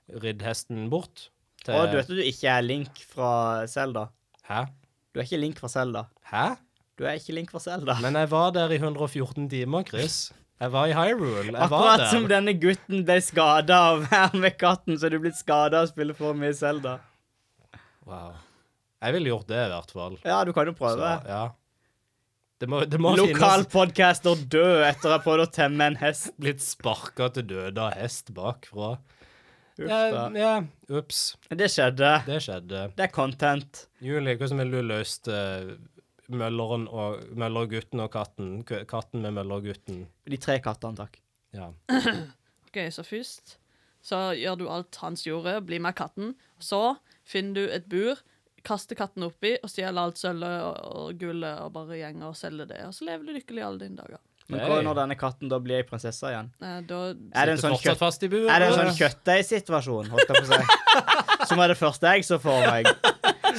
ridd hesten bort. til-
Og du vet at du ikke er Link fra Zelda.
Hæ?
Du er ikke Link fra Zelda.
Hæ?
Du er ikke Link fra Zelda. *laughs*
Men jeg var der i 114 timer, Chris. Jeg var i Hyrule. Jeg var
Akkurat
der.
som denne gutten ble skada av *laughs* å være med katten, så er du blitt skada av å spille for mye Zelda.
Wow. Jeg ville gjort det, i hvert fall.
Ja, du kan jo
Så,
prøve.
ja. Det må, det må
Lokal
finnes
podcaster død etter å ha prøvd å temme en hest.
blitt sparka til døde av hest bakfra.
Uff
Ja,
da.
ja, ups.
Det skjedde.
Det skjedde.
Det er content.
Julie, hvordan ville du løst eh, mølleren og, møllergutten og katten? K katten med møllergutten.
De tre kattene, takk.
Ja.
Ok, så først så gjør du alt Hans gjorde, blir med katten. Så finner du et bur, kaster katten oppi og stjeler alt sølvet og, og gullet og bare gjenger og selger det. Og så lever du lykkelig i alle dine dager.
Men
Nei.
hva når denne katten da blir ei prinsesse igjen?
Nei, da
Er det en
Sitter
sånn
fortsatt
kjøtt...
fast i buret.
Er det en sånn kjøttdeigsituasjon, holdt jeg på å
*laughs*
si? Som var det første jeg så for meg.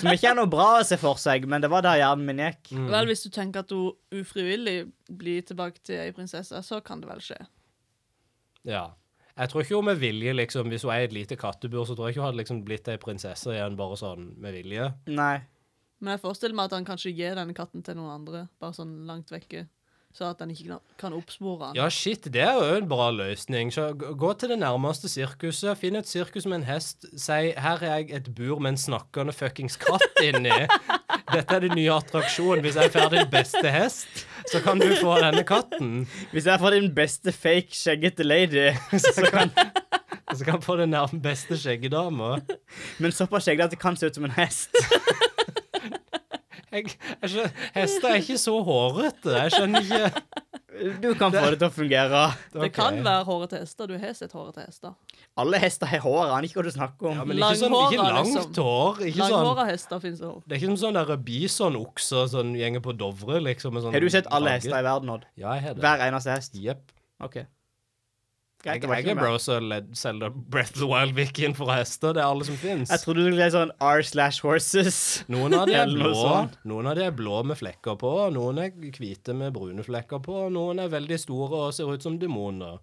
Som ikke er noe bra å se for seg, men det var der hjernen min gikk.
Vel, hvis du tenker at hun ufrivillig blir tilbake til ei prinsesse, så kan det vel skje.
Ja. Jeg tror ikke hun med vilje, liksom, hvis hun er i et lite kattebur, så tror jeg ikke hun hadde liksom blitt ei prinsesse igjen bare sånn med vilje.
Nei.
Men jeg forestiller meg at han kanskje gir denne katten til noen andre, bare sånn langt vekke. Så at han ikke kan- kan oppspore han.
Ja, shit, det er jo en bra løsning. Så g- gå til det nærmeste sirkuset, finn et sirkus med en hest, si 'her er jeg et bur med en snakkende fuckings katt inni'. Dette er din nye attraksjon. Hvis jeg får din beste hest, så kan du få denne katten.
Hvis jeg får din beste fake skjeggete lady, så kan
Og *laughs* så kan jeg få den nærmest beste skjeggedama.
Men såpass skjeggete at det kan se ut som en hest.
Jeg- jeg skjø- Hester er ikke så hårete. Jeg skjønner ikke
Du kan få det til å fungere.
Det kan
Ok.
være hårete hester. Du har sett hårete hester.
Alle hester har hår, jeg aner ikke hva du snakker om.
Ja, men ikke, sånn, ikke
Langhåra,
langt
liksom.
hår. Ikke sånn,
Langhåra hester fins det òg.
det er ikke som sånn der bisonokser som gjenger på Dovre, liksom. med Sånn
Har du sett alle
krage.
hester i verden, Odd?
Ja, jeg har det.
Hver eneste hest?
Jepp.
OK. Greit,
Jeg,
det var
jeg
ikke
er
mer.
bro som led- selger Breath of the Wild-vikien for hester. Det er alle som fins.
Jeg trodde du skulle si sånn R slash horses.
Noen av de er
*laughs* Eller sånn. noe
blå
sånt.
Noen av de er blå med flekker på, noen er hvite med brune flekker på, noen er veldig store og ser ut som demoner.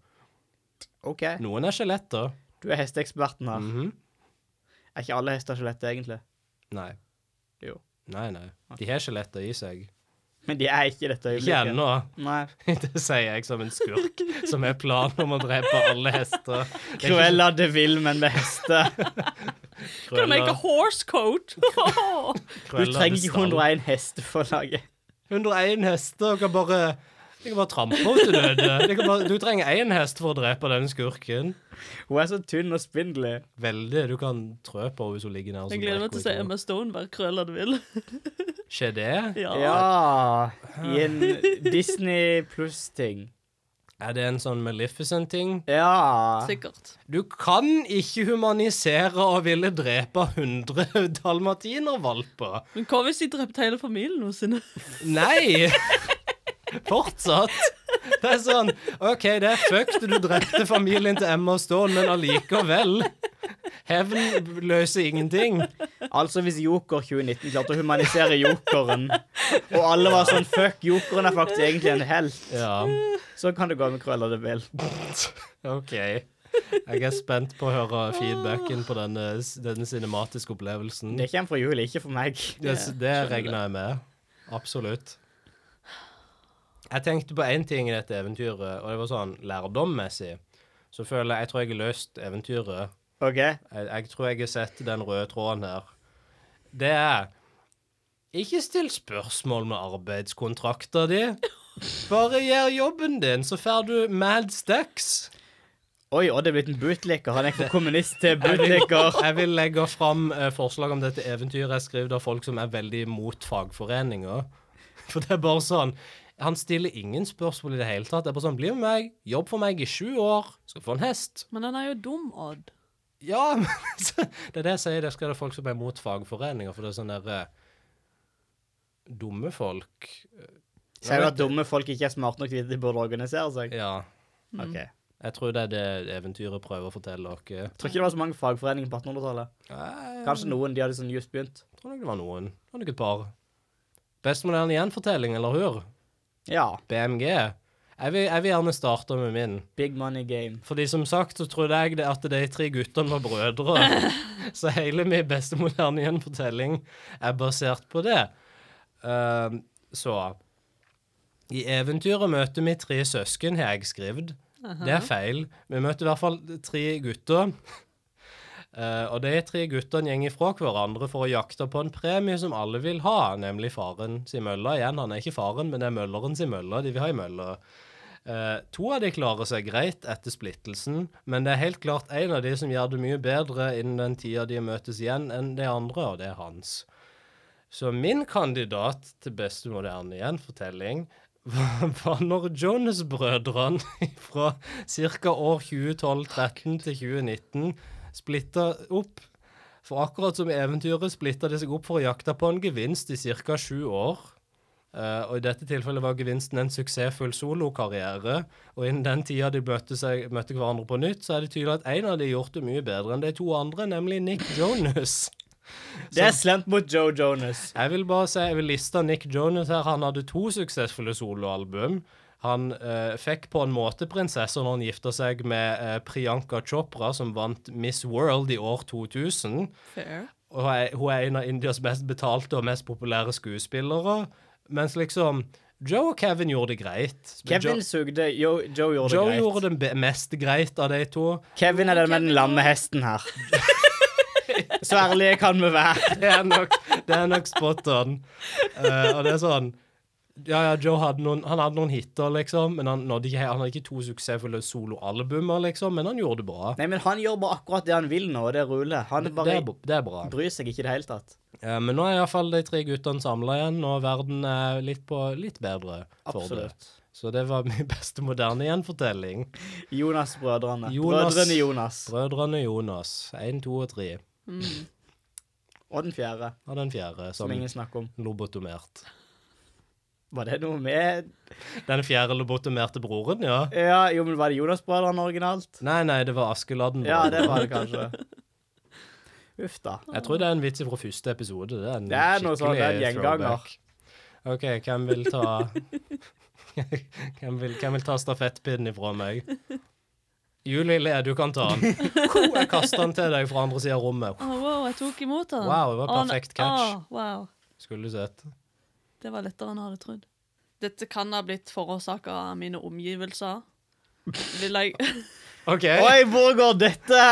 OK.
Noen er skjeletter.
Du er hesteeksperten her.
Mhm.
Er ikke alle hester skjeletter, egentlig?
Nei.
Jo.
Nei, nei. De har skjeletter i seg.
Men de er ikke i dette
Ikke
øyeblikket.
ennå.
Nei.
*laughs* Det sier jeg som en skurk som har plan om å drepe alle hester.
*laughs*
Det er ikke
Cruella de Vil, men med *laughs* hester.
Kan du make a
Cruella- *laughs*
horse coat? *laughs*
Du
Cruella
trenger
de
ikke
Stahl.
101 hester for å lage
101 hester og kan bare De kan bare trampe henne til døde. De kan bare, du trenger én hest for å drepe denne skurken.
Hun er så tynn og spindelig.
Veldig. Du kan trø på henne hvis hun ligger nær.
Jeg gleder meg til å se Emma Stone være krølla du vil. *laughs*
Skjer det?
Ja.
Ah. Ja. I en Disney pluss-ting.
Er det en sånn Maleficent-ting?
Ja.
Sikkert.
Du kan ikke humanisere og ville drepe *laughs* 100 dalmatinervalper.
Men hva hvis de drepte hele familien *laughs* hennes?
Nei! Fortsatt. Det er sånn OK, det er fucked, du drepte familien til Emma Stone, men allikevel. Hevn løser ingenting.
Altså hvis Joker 2019 klarte å humanisere jokeren, og alle var sånn Fuck, jokeren er faktisk egentlig en helt.
Ja.
Så kan det gå med Cruella de Vil.
OK. Jeg er spent på å høre feedbacken på denne, denne cinematiske opplevelsen.
Det kommer fra Julie, ikke fra meg.
Det, det regner jeg med. Absolutt. Jeg tenkte på én ting i dette eventyret, og det var sånn lærdommessig. Så føler jeg jeg tror jeg har løst eventyret.
OK?
Jeg, jeg tror jeg har sett den røde tråden her. Det er Ikke still spørsmål med arbeidskontrakta di. Bare gjør jobben din, så får du mad stacks.
Oi, Odd er blitt en bootlicker. Han er ikke kommunist til bootlicker.
Jeg vil legge fram eh, forslag om dette eventyret jeg skrev av folk som er veldig mot fagforeninger. For det er bare sånn Han stiller ingen spørsmål i det hele tatt. Det er bare sånn Bli med meg, jobb for meg i sju år, skal få en hest.
Men han er jo dum, Odd.
Ja, *laughs* men så- det er det jeg sier. Det skal være folk som er imot fagforeninger, for det er sånne der eh, Dumme folk.
Sier du at dumme folk ikke er smarte nok til at de burde organisere seg?
Ja.
Ok.
Jeg tror det er det eventyret prøver å fortelle dere.
Tror ikke det var så mange fagforeninger på 1800-tallet.
Nei, Jeg
Kanskje noen de hadde sånn just begynt.
tror nok det var noen. Det var nok et par. Bestemoderne gjenfortelling, eller hør?
Ja.
BMG. Jeg vil, jeg vil gjerne starte med min.
Big money game.
Fordi som sagt så trodde jeg det at de tre guttene var brødre. Så hele min beste moderne gjenfortelling er basert på det. Ehm, så I eventyret møter vi tre søsken, har jeg skrevet. Det er feil. Vi møter i hvert fall tre gutter. Eh, og de tre guttene går fra hverandre for å jakte på en premie som alle vil ha, nemlig faren sin mølle. Igjen, han er ikke faren, men det er mølleren sin mølle de vil ha i mølla. Eh, to av de klarer seg greit etter splittelsen, men det er helt klart en av de som gjør det mye bedre innen den tida de møtes igjen, enn de andre, og det er hans. Så min kandidat til beste moderne gjenfortelling *laughs* var var når Jonas-brødrene *laughs* fra ca. år 2012-13 til 2019 splitta opp. For akkurat som i eventyret splitta de seg opp for å jakte på en gevinst i ca. sju år. Eh, og i dette tilfellet var gevinsten en suksessfull solokarriere. Og innen den tida de møtte, seg, møtte hverandre på nytt, så er det tydelig at en av de gjort det mye bedre enn de to andre, nemlig Nick Jonas.
Det er slemt mot Joe Jonas.
Jeg vil bare si, jeg vil liste Nick Jonas her. Han hadde to suksessfulle soloalbum. Han eh, fikk på en måte prinsessa når han gifta seg med eh, Priyanka Chopra, som vant Miss World i år 2000.
Fair.
Og hun er, hun er en av Indias best betalte og mest populære skuespillere. Mens liksom Joe og Kevin gjorde det greit.
Kevin sugde, Joe,
Joe,
Joe gjorde
Joe
det greit.
gjorde det be- mest greit av de to.
Kevin er den med den lamme hesten her. *laughs* Så ærlige kan vi være.
Det er nok, det er nok spot on. Eh, og det er sånn Ja, ja, Joe hadde noen, han hadde noen hiter, liksom. Men han, nådde ikke, han hadde ikke to suksessfulle soloalbumer, liksom. Men han gjorde det bra.
Nei, men han gjør bare akkurat det han vil nå, og det ruller. Han
Det
bare
er, bo- det er bra.
bryr seg ikke i det hele tatt.
Eh, men nå er iallfall de tre guttene samla igjen, og verden er litt, på, litt bedre for det.
Absolutt.
Så det var *laughs* min beste moderne gjenfortelling.
Jonas-brødrene.
Jonas-
Brødrene Jonas.
Brødrene Jonas. Én, to og tre.
Og den fjerde,
Og den fjerde, som
som ingen snakker om.
lobotomert.
Var det noe med
Den fjerde lobotomerte broren, ja.
Ja, jo, men var det Jonas-brødrene originalt?
Nei, nei, det var Askeladden.
Ja, det var det kanskje. *laughs* Uff da.
Jeg tror det er en vits fra første episode. Det er, en
Det er noe sånn, det er en
skikkelig
gjenganger.
throwback. OK, hvem vil ta *laughs* hvem, vil, hvem vil ta stafettpinnen ifra meg? Julie Le, du kan ta
*laughs*
den. Ko, Jeg kaster den til deg fra andre sida av rommet.
Å, wow, jeg tok imot han.
Wow, det var
Å, han-
perfekt catch.
å, wow.
Skulle du sett.
Det var lettere enn jeg hadde trodd. Dette kan ha blitt forårsaka av mine
*laughs*
omgivelser. Vil jeg
OK,
Oi, hvor går dette?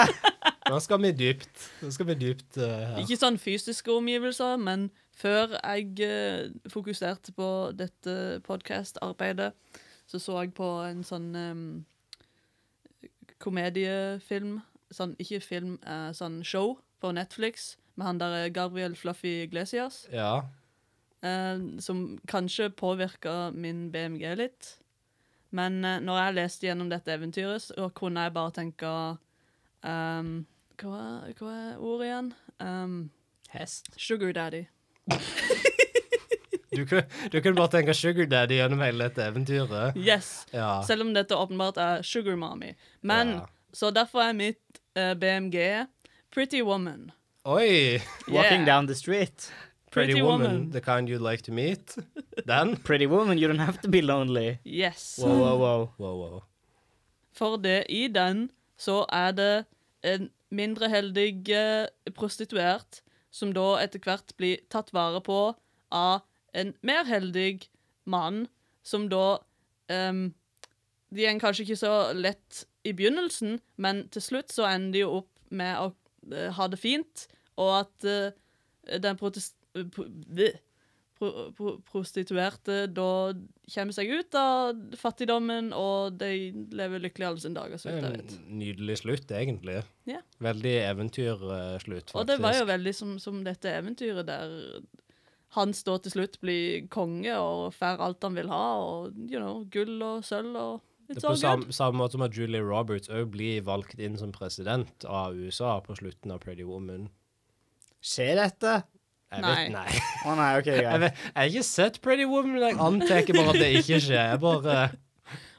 nå skal vi dypt. Nå skal vi dypt eh, her.
Ikke sånn fysiske omgivelser, men før jeg eh, fokuserte på dette podcast-arbeidet, så så jeg på en sånn em, komediefilm, sånn, ikke film, eh, sånn show på Netflix, med han der eh, Gabriel Fluffy Iglesias,
Ja.
eh, som kanskje påvirket min BMG litt. Men eh, når jeg leste gjennom dette eventyret, så kunne jeg bare tenke em, hva, er- hva er ordet igjen? Um,
Hest.
Sugar Daddy.
Du, kunne- du kunne bare tenke Sugar Daddy gjennom hele dette eventyret.
Yes.
Ja.
Selv om dette åpenbart er Sugar Mommy. Men
Ja.
Så derfor er mitt eh, BMG Pretty Woman.
Oi!
Walking
Yeah.
down the street.
Pretty,
Pretty
woman,
woman.
the kind you'd like to meet. Den.
Pretty woman, you don't have to be lonely.
Yes.
Wow, wow, wow.
Wow, wow.
For det, i den så er det en mindre heldig eh, prostituert som da etter hvert blir tatt vare på av en mer heldig mann, som da ehm, De er kanskje ikke så lett i begynnelsen, men til slutt så ender de jo opp med å eh, ha det fint, og at eh, den protest... Pro, bleh. pro, pro, prostituerte da kommer seg ut av fattigdommen, og de lever lykkelig alle sine dager, så
Det
vidt
er
jeg vet.
en nydelig slutt, egentlig.
Ja.
Veldig eventyrslutt, faktisk.
Og det var jo veldig som, som dette eventyret der han står til slutt blir konge og får alt han vil ha, og you know, gull og sølv og
Det er
It's
på
all good.
samme, samme måte som at Julie Roberts òg blir valgt inn som president av USA på slutten av Pretty Woman.
Skjer dette?
Jeg
Nei.
vet, nei.
Å nei, OK,
*laughs* Jeg,
greit.
vet, jeg har ikke sett Pretty Woman, men jeg antar bare at det ikke skjer. Jeg bare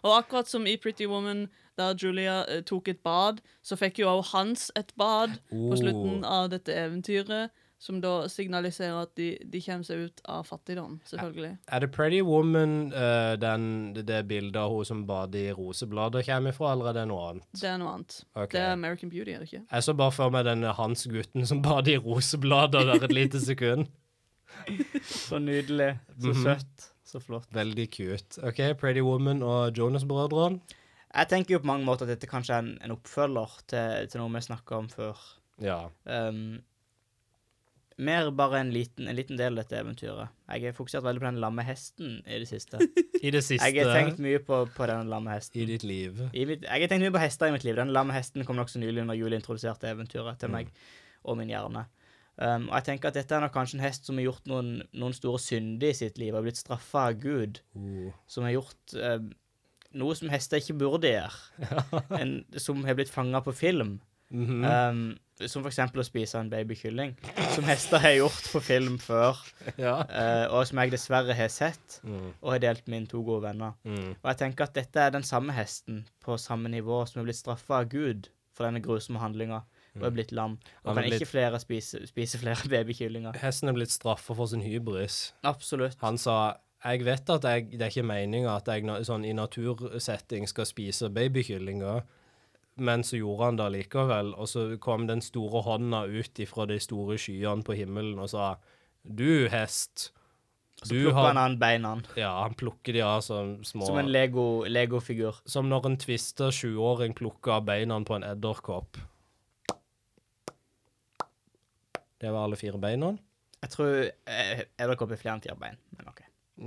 Og akkurat som i Pretty Woman, der Julia eh, tok et bad, så fikk jo også Hans et bad
Oh.
på slutten av dette eventyret, som da signaliserer at de, de kommer seg ut av fattigdom, selvfølgelig.
Er det Pretty Woman eh, den, det- det bildet av hun som bader i roseblader kommer ifra, eller er det noe annet?
Det er noe annet.
Ok.
Det er American Beauty, er det ikke?
Jeg så bare for meg denne Hans-gutten som *laughs* bader i roseblader der et lite sekund.
Så nydelig. Så
Mhm.
søtt. Så flott.
Veldig cute. OK, Pretty Woman og Jonas-brødrene.
Jeg tenker jo på mange måter at dette kanskje er en, en oppfølger til, til noe vi snakka om før.
Ja.
Um, mer bare en liten, en liten del av dette eventyret. Jeg har fokusert veldig på den lamme hesten i det siste.
*laughs* I det siste
Jeg har tenkt mye på, på den lamme hesten.
i ditt liv.
I mitt, jeg har tenkt mye på hester i mitt liv. Den lamme hesten kom nokså nylig når Julie introduserte eventyret til meg og min hjerne. Um, og jeg tenker at dette er nok kanskje en hest som har gjort noen, noen store synder i sitt liv og blitt straffa av Gud.
Uh.
Som har gjort eh, noe som hester ikke burde gjøre. En, som har blitt fanga på film.
Mhm.
Um, som f.eks. å spise en babykylling. Som hester har gjort på film før,
Ja.
eh, og som jeg dessverre har sett.
Mm.
Og har delt med mine to gode venner.
Mm.
Og jeg tenker at dette er den samme hesten på samme nivå som er blitt straffa av Gud for denne grusomme handlinga, og er blitt lam.
Mm.
Og
Han
kan
er blitt-
ikke flere spise, spise flere *laughs* babykyllinger.
Hesten er blitt straffa for sin hybris.
Absolutt.
Han sa jeg vet at jeg, det er ikke meninga at jeg na- sånn, i natursetting skal spise babykyllinger, men så gjorde han det likevel, og så kom den store hånda ut ifra de store skyene på himmelen og sa du, hest,
Så
du
plukker han
har
an beina,
Ja, han plukker de av som små
som en Lego- legofigur.
Som når en tvista sjuåring plukker av beina på en edderkopp. Det var alle fire beina.
jeg tror eh, edderkopp er flere enn fire bein, men OK.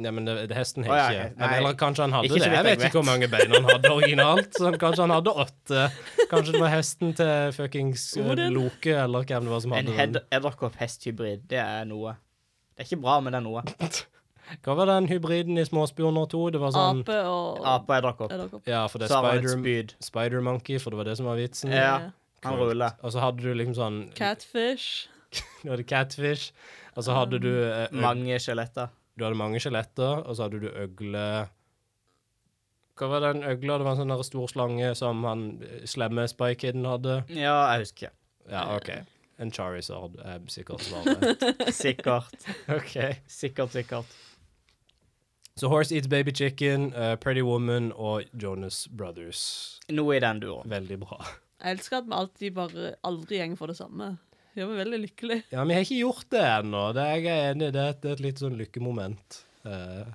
Nei, men det, det, hesten
Å, ja,
har ikke.
hest-
Men,
nei.
eller kanskje han hadde
Ikke så
det.
vidt
Jeg
jeg
vet ikke hvor mange bein han hadde originalt. Så han, kanskje han hadde åtte. Kanskje det var hesten til fuckings eh,
Odin.
Loke, eller hvem det var som
En
hadde
hed-
den.
edderkopp-hest-hybrid, det er noe. Det er ikke bra, men det er noe.
Hva var den hybriden i Småspioner 2? Det var sånn
Ape og
Ape og edderkopp.
edderkopp.
Ja, for det
Så har han et
er
spyd.
Spider Monkey, for det var det som var vitsen.
Ja,
Eh,
han
Kult.
ruller.
Og så hadde du liksom sånn
Catfish.
Du hadde Catfish, og så hadde du eh, øg-
Mange skjeletter.
Du hadde mange skjeletter, og så hadde du øgle Hva var den øgla? Det var en sånn der stor slange som han eh, slemme Spy Kidden hadde.
Ja, jeg husker.
Ja, OK. Eh, En Charizard er sikkert svaret.
Sikkert.
*laughs* OK.
Sikkert, sikkert.
Så Horse Eats Baby Chicken, eh, Pretty Woman og Jonas Brothers.
Noe i den duren.
Veldig bra.
Jeg elsker at vi alltid bare aldri gjenger for det samme. Det gjør meg veldig lykkelig.
Ja, men jeg har ikke gjort det ennå. Det er jeg er enig i. Det er et, det er et litt sånn lykkemoment. Eh,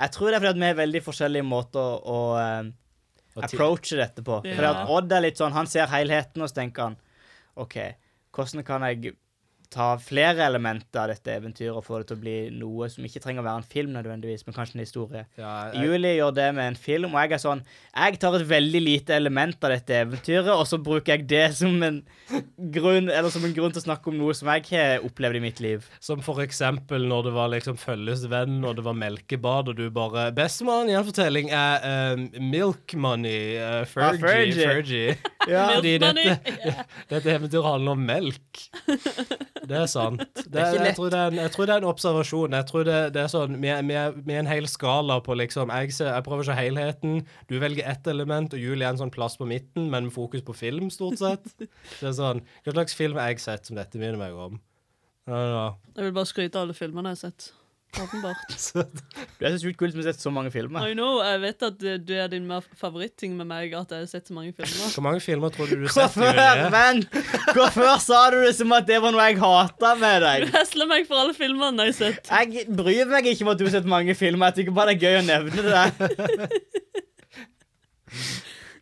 Jeg tror det er fordi at vi har veldig forskjellige måter å eh,
og ti-
approache dette på.
Ja.
Fordi at Odd er litt sånn, han ser helheten, og så tenker han OK, hvordan kan jeg ta flere elementer av dette eventyret og få det til å bli noe som ikke trenger å være en film nødvendigvis, men kanskje en historie?
ja, Eh, jeg,
Julie gjør det med en film, og jeg er sånn Jeg tar et veldig lite element av dette eventyret, og så bruker jeg det som en grunn Eller som en grunn til å snakke om noe som jeg har opplevd i mitt liv.
som for eksempel når det var liksom følgesvenn, og det var melkebad, og du bare Bestemann i en fortelling er eh, Milk Money, eh, Fergie.
Ah, Fergie.
Fergie.
Ja.
Fordi
Milk Money. *laughs*
dette, dette eventyret handler om melk. Det er sant. Det,
er ikke
jeg, tror det er en, jeg tror det er en observasjon. Jeg tror det, det er sånn, vi er, vi, er, vi er en hel skala på liksom jeg, ser, jeg prøver å se helheten. Du velger ett element, og Julie er en sånn plass på midten, men med fokus på film, stort sett. Det er sånn, Hva slags film har jeg sett som dette minner meg om? Ja, ja.
Jeg vil bare skryte av alle filmene jeg har sett. Åpenbart.
Så,
Du er så sjukt kul som har sett så mange filmer.
I know, jeg vet at det det er din mer favoritting med meg, at jeg har sett så mange
*laughs*
filmer.
hvor mange filmer tror du du har sett?
Hvorfor,
Julie?
vent! Hvorfor sa du det som at det var noe jeg hata med
Du
deg?
hesler meg for alle filmene jeg har sett.
Jeg bryr meg ikke om at du har sett mange filmer. Jeg tykker bare det er gøy å nevne det. der.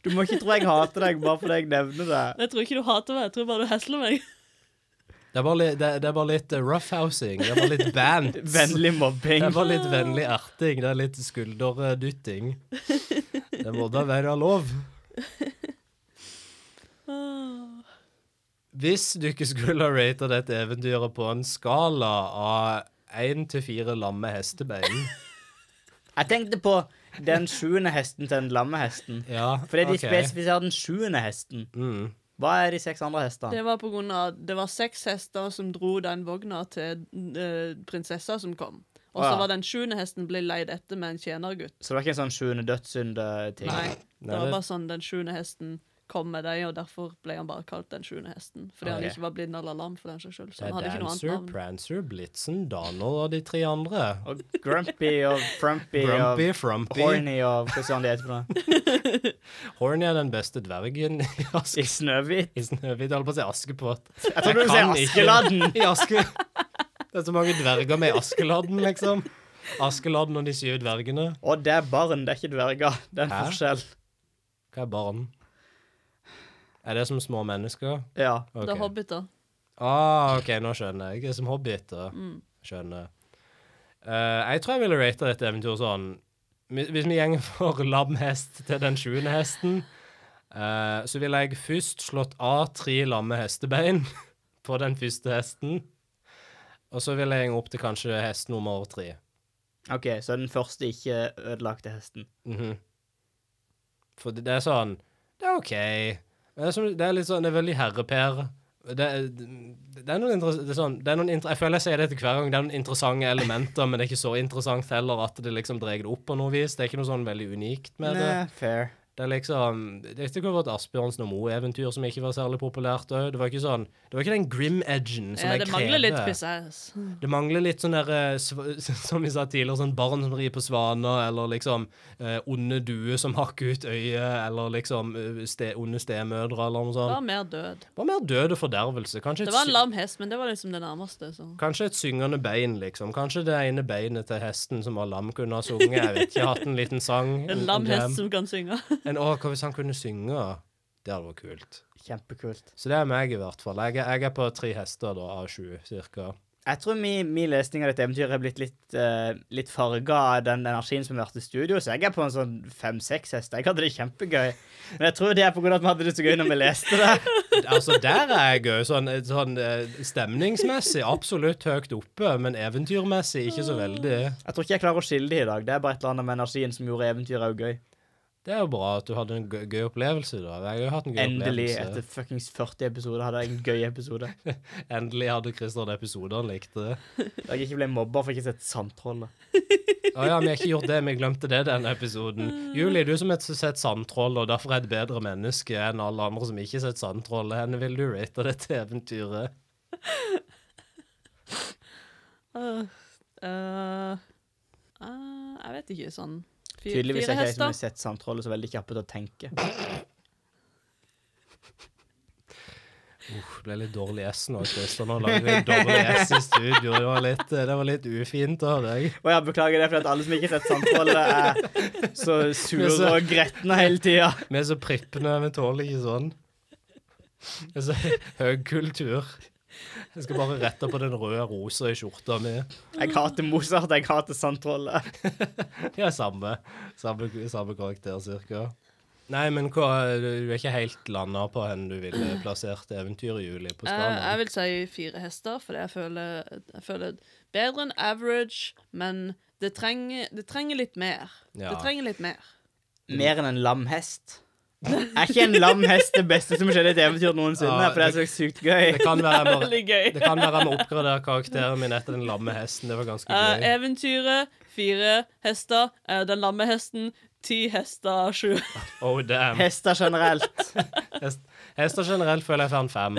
Du må ikke tro jeg hater deg bare fordi jeg nevner det.
Jeg tror ikke du hater meg, jeg tror bare du hesler meg. *laughs*
Det er bare litt, det, det er bare litt eh, roughhousing. Det er bare litt
*laughs*
band.
Vennlig
Det
mobbing.
er bare litt vennlig erting. Det er litt skulderdytting. Det må da være lov.
Åh.
Hvis du ikke skulle ha ratet dette eventyret på en skala av én til fire lamme hestebein
Jeg tenkte på den sjuende hesten til den lamme hesten.
Ja,
Fordi de
ok.
spesifiserer den sjuende hesten.
Mm.
Hva er de seks andre hestene?
Det var på grunn av det var seks hester som dro den vogna til eh, prinsessa som kom. Og så
Å ja.
var den sjuende hesten ble leid etter med en tjenergutt.
Så det var ikke en sånn sjuende dødssynd-ting?
Nei, det
Nei, det-
var bare sånn den sjuende hesten kom med deg, og derfor ble han bare kalt den sjuende hesten.
Ok.
Fordi han ikke var blind eller lam for den saks skyld. Så
Det
han
er
hadde ikke noe annet
Dancer,
navn.
Prancer, Blitzen, Donald og de tre andre.
Og Grumpy og Frumpy og
Grumpy, Frumpy. Horny.
Horny og hva søren de heter for noe?
er den beste dvergen *laughs* i
I
Aske...
Snøhvit?
I Snøhvit, holdt på å si Askepott.
Jeg trodde du
kan
sa
ikke.
Askeladden!
I Aske... Det er så mange dverger med i Askeladden, liksom. Askeladden og de syv dvergene.
Og det er barn, det er ikke dverger. Det er en
Hæ?
forskjell.
Hva er barn? Er det som små mennesker?
Ja.
Det er
Ok.
hobbiter.
Ah, OK, nå skjønner jeg. Det er som hobbiter.
Mm.
Skjønner. Eh, jeg tror jeg ville rate dette eventyret sånn Hvis hvis vi gjenger for lamhest til den sjuende hesten, eh, så ville jeg først slått av tre lamme hestebein *laughs* på den første hesten. Og så ville jeg gjenge opp til kanskje hest nummer tre.
OK, så den første ikke ødelagte hesten.
Mhm. For det, det er sånn Det er OK. Det er, som, det er litt sånn Det er veldig herreper. Det, er- det er noen interes- det er sånn, det er noen inter, Jeg føler jeg sier det til hver gang. Det er noen interessante elementer, men det er ikke så interessant heller at det liksom dreier det opp på noe vis. Det er ikke noe sånn veldig unikt med det.
Nei, fair.
Det er liksom Dette kunne vært Asbjørnsen og Moe-eventyr som ikke var særlig populært òg. Det var ikke sånn Det var ikke den grim edgen som
Ja,
jeg
det
krever.
mangler litt pissass.
Det mangler litt sånn der, eh, sv- *laughs* som vi sa tidligere, sånn barn som rir på svaner, eller liksom eh, onde duer som hakker ut øyet, eller liksom eh, ste, onde stemødre, eller noe
Det
sånt.
var mer død.
Bare mer død og fordervelse. Kanskje
Det
et,
var en
sy-
lam hest, men det var liksom det nærmeste. Så.
kanskje et syngende bein, liksom. Kanskje det ene beinet til hesten som var lam, kunne ha sunget. Jeg vet ikke, hatt en liten sang.
*laughs* En lam
jam.
hest som kan synge. *laughs*
En, å, hva hvis han kunne synge? Det hadde vært kult.
Kjempekult.
Så det er meg, i hvert fall. Jeg, er- jeg er på tre hester da, av sju, cirka.
Jeg tror min, min lesning av dette eventyret er blitt litt, uh, litt farga av den energien som har vært i studio, så jeg er på en sånn fem-seks hest. Jeg hadde det kjempegøy. Men jeg tror det er på grunn av at vi hadde det så gøy når vi leste det.
Altså, der er jeg òg. Sånn, sånn eh, stemningsmessig absolutt høyt oppe, men eventyrmessig ikke så veldig.
Jeg tror ikke jeg klarer å skille det i dag. Det er bare et eller annet med energien som gjorde eventyret òg gøy.
Det er jo bra at du hadde en gøy, gøy opplevelse, da. Jeg har jo hatt en gøy
Endelig,
opplevelse.
etter fuckings 40 episoder, hadde jeg en gøy episode.
Endelig hadde Christer en episode han likte.
Da jeg ikke ble mobba for ikke å sett Sandtrollet.
Å ja, vi har ikke gjort det, vi glemte det denne episoden. Julie, du som har sett Sandtroll, og derfor er et bedre menneske enn alle andre som ikke har sett Sandtroll, henne vil du rate dette eventyret?
Øh, øh, øh, jeg vet ikke, sånn fi-
Tydeligvis
fire
er ikke jeg som har
hester.
sett Sandtrollet så veldig kjappe til å tenke.
Uff, det ble litt dårlig S nå, Christer. Nå lager *laughs* vi dårlig S i studio. Det var litt, eh, det var litt ufint av deg.
Og jeg beklager det, for at alle som ikke har sett Sandtrollet, er så
Men
sure
så-
og gretne hele tida.
Vi er så prippende, vi tåler ikke sånn. Det er så *laughs* høy kultur. Jeg skal bare rette på den røde rosa i skjorta mi.
Jeg hater Mozart, jeg hater Sandtrollet.
De er samme, samme, samme karakter, cirka. Nei, men hva, du er ikke helt landa på hen du ville plassert eventyret, Julie, på
Jeg, Eh, jeg
skalaen.
vil si fire hester, fordi jeg føler, jeg føler bedre enn average, men det trenger, det trenger litt mer.
Ja.
Det trenger litt mer.
Mer enn en lam hest. Er ikke en lam hest det beste som skjedde i et eventyr noensinne?
Ja,
For det er så sykt
Det
gøy.
kan være jeg
*laughs*
må-
Veldig gøy.
det kan være jeg må oppgradere karakteren min etter den lamme hesten. Det var ganske
Eh,
gøy.
eventyret, fire hester. eh, den lamme hesten, ti hester, sju. *laughs*
Oh, damn.
Hester generelt.
Hest, hester generelt føler jeg får en fem.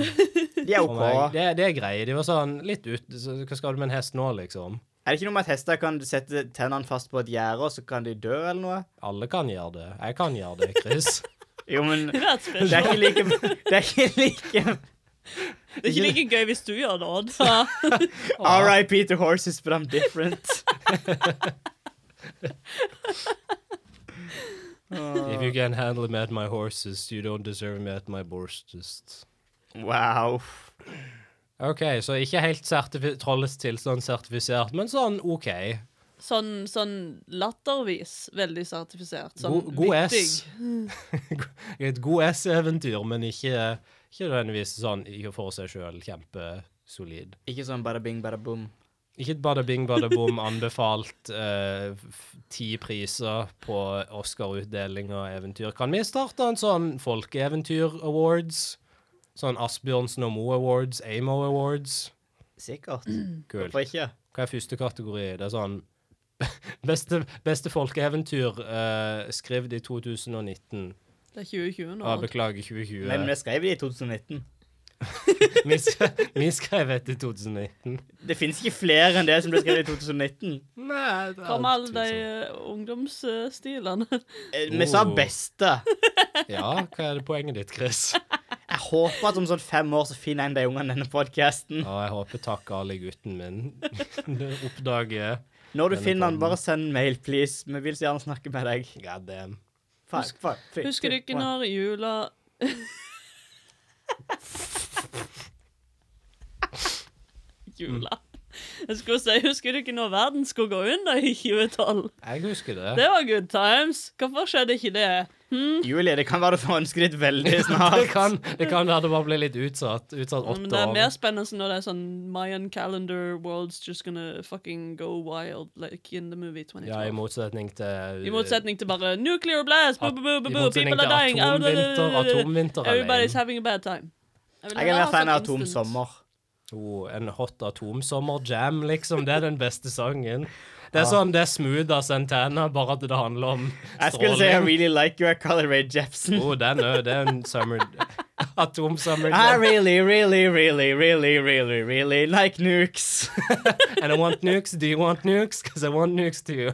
De er
for meg.
OK.
Det, det er greie. De var sånn litt ut så, Hva skal du med en hest nå, liksom?
Er det ikke noe med at hester kan sette tennene fast på et gjerde, og så kan de dø, eller noe?
Alle kan gjøre det. Jeg kan gjøre det, Chris. *laughs*
Jo, men
Det
det
er et spill.
er ikke like Det er ikke like
Det er ikke like gøy hvis du gjør det, Odd. Ja.
RIP to horses, but I'm
*laughs*
different.
If you can handle me at my horses, you don't deserve me at my borstest.
Wow.
OK, så ikke helt sertifi- trollets tilstand sertifisert, men sånn OK.
*laughs* Sånn, sånn lattervis veldig sertifisert. Sånn
God- god
vittig.
S. *laughs* Et god S-eventyr, men ikke, ikke nødvendigvis sånn i og for seg sjøl kjempesolid.
Ikke sånn bada bing, bada boom.
Ikke et bada bing, bada boom anbefalt eh, f- ti priser på Oscar-utdeling og eventyr. Kan vi starte en sånn folkeeventyr-awards? Sånn Asbjørnsen og Moe Awards, Amo Awards.
Sikkert.
Kult.
Hvorfor ikke?
Hva er første kategori? Det er sånn *laughs* Beste, beste folkeeventyr eh, skrevet i 2019.
Det er 2020 nå.
Ah,
Odd.
beklager, 2020.
Men vi skrev det i 2019.
*laughs* vi, sk vi skrev et i 2019.
Det fins ikke flere enn det som ble skrevet i 2019.
Nei, det
Hva med alle de eh,
liksom.
ungdomsstilene?
Eh, Vi sa
Oh.
beste.
Ja, hva er det poenget ditt, Chris?
Jeg håper at om sånn fem år så finner en de ungene denne podkasten.
Ja, jeg håper takk alle gutten min *laughs* oppdager
Når du
Denne
finner den,
podden.
bare send en mail, please. Vi vil så gjerne snakke med deg.
God damn.
Fuck, fuck, fuck,
*laughs* Husker du
fuck,
ikke
fuck.
når jula *laughs* Jula. Jeg skulle si, Husker du ikke når verden skulle gå under i 2012?
Jeg husker det.
Det var good times. Hvorfor skjedde ikke det?
Julie, det kan være du får ønsket ditt veldig
*laughs*
snart.
Det kan, det kan være det bare ble litt utsatt. Utsatt
Men
åtte
det er mer
år.
spennende når det er sånn Mayan calendar world's just gonna fucking go wild like in the movie 2012.
Ja, i motsetning til eh,
I motsetning til bare nuclear blast, boo, boo, boo, boo,
i
boo,
motsetning
people are
til
dying. ah, blah, blah,
atomvinter,
blah, blah, blah.
atomvinter
Everybody's
alene.
having a bad time. vil
Jeg er
heller
mer
ha
fan av
sånn instant.
Atomsommer.
Jo, Oh, en hot atomsommerjam, liksom. Det er den beste sangen. Det er sånn det er smooth av Santana, bare at det handler om
Jeg skulle si I
stråling.
really like you, I call it Ray Jepsen.
Jo, den er det er en summer
*laughs* I
Atomsummerjam.
Ah, really, really, really, really, really, really like nukes. *laughs*
And I want nukes. Do you want nukes? Because I want nukes to you.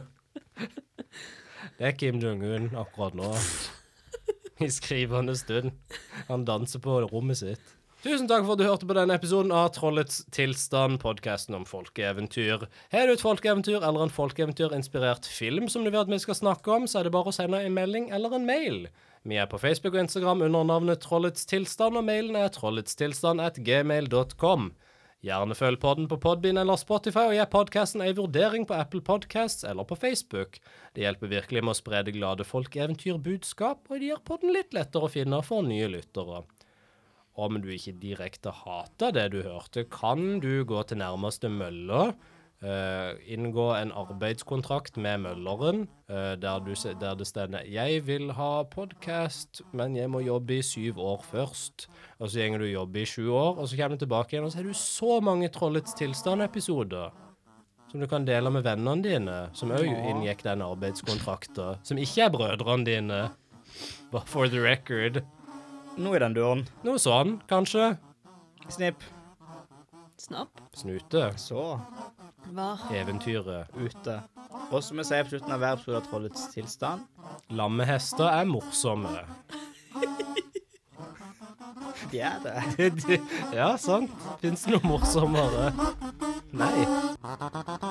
Det er Kim Jong-un akkurat nå. I skrivende stund. Han danser på rommet sitt. Tusen takk for at du hørte på denne episoden av Trollets tilstand, podkasten om folkeeventyr. Har du et folkeeventyr eller en folkeeventyrinspirert film som du vil at vi skal snakke om, så er det bare å sende en melding eller en mail. Vi er på Facebook og Instagram under navnet Trollets tilstand, og mailen er trolletstilstand at gmail.com. Gjerne følg podden på Podbean eller Spotify, og gi podkasten ei vurdering på Apple Podcasts eller på Facebook. Det hjelper virkelig med å spre det glade folkeeventyrbudskap, og det gjør podden litt lettere å finne for nye lyttere. Om du ikke direkte hater det du hørte, kan du gå til nærmeste mølle, eh, inngå en arbeidskontrakt med mølleren, eh, der, du, se- der det stender 'Jeg vil ha podkast, men jeg må jobbe i syv år først'. Og så gjenger du jobbe i sju år, og så kommer du tilbake igjen, og så har du så mange Trollets tilstand-episoder. Som du kan dele med vennene dine, som òg inngikk den arbeidskontrakten. Som ikke er brødrene dine, bare for the record.
Noe i er den duren.
Noe sånn, kanskje.
Snipp.
Snapp.
Snute.
Så
Hva?
Eventyret.
ute. Og som jeg sier på slutten av hver episode av Trollets tilstand,
Lammehester er morsomme.
de er det.
ja, sant. Fins det noe morsommere? Nei.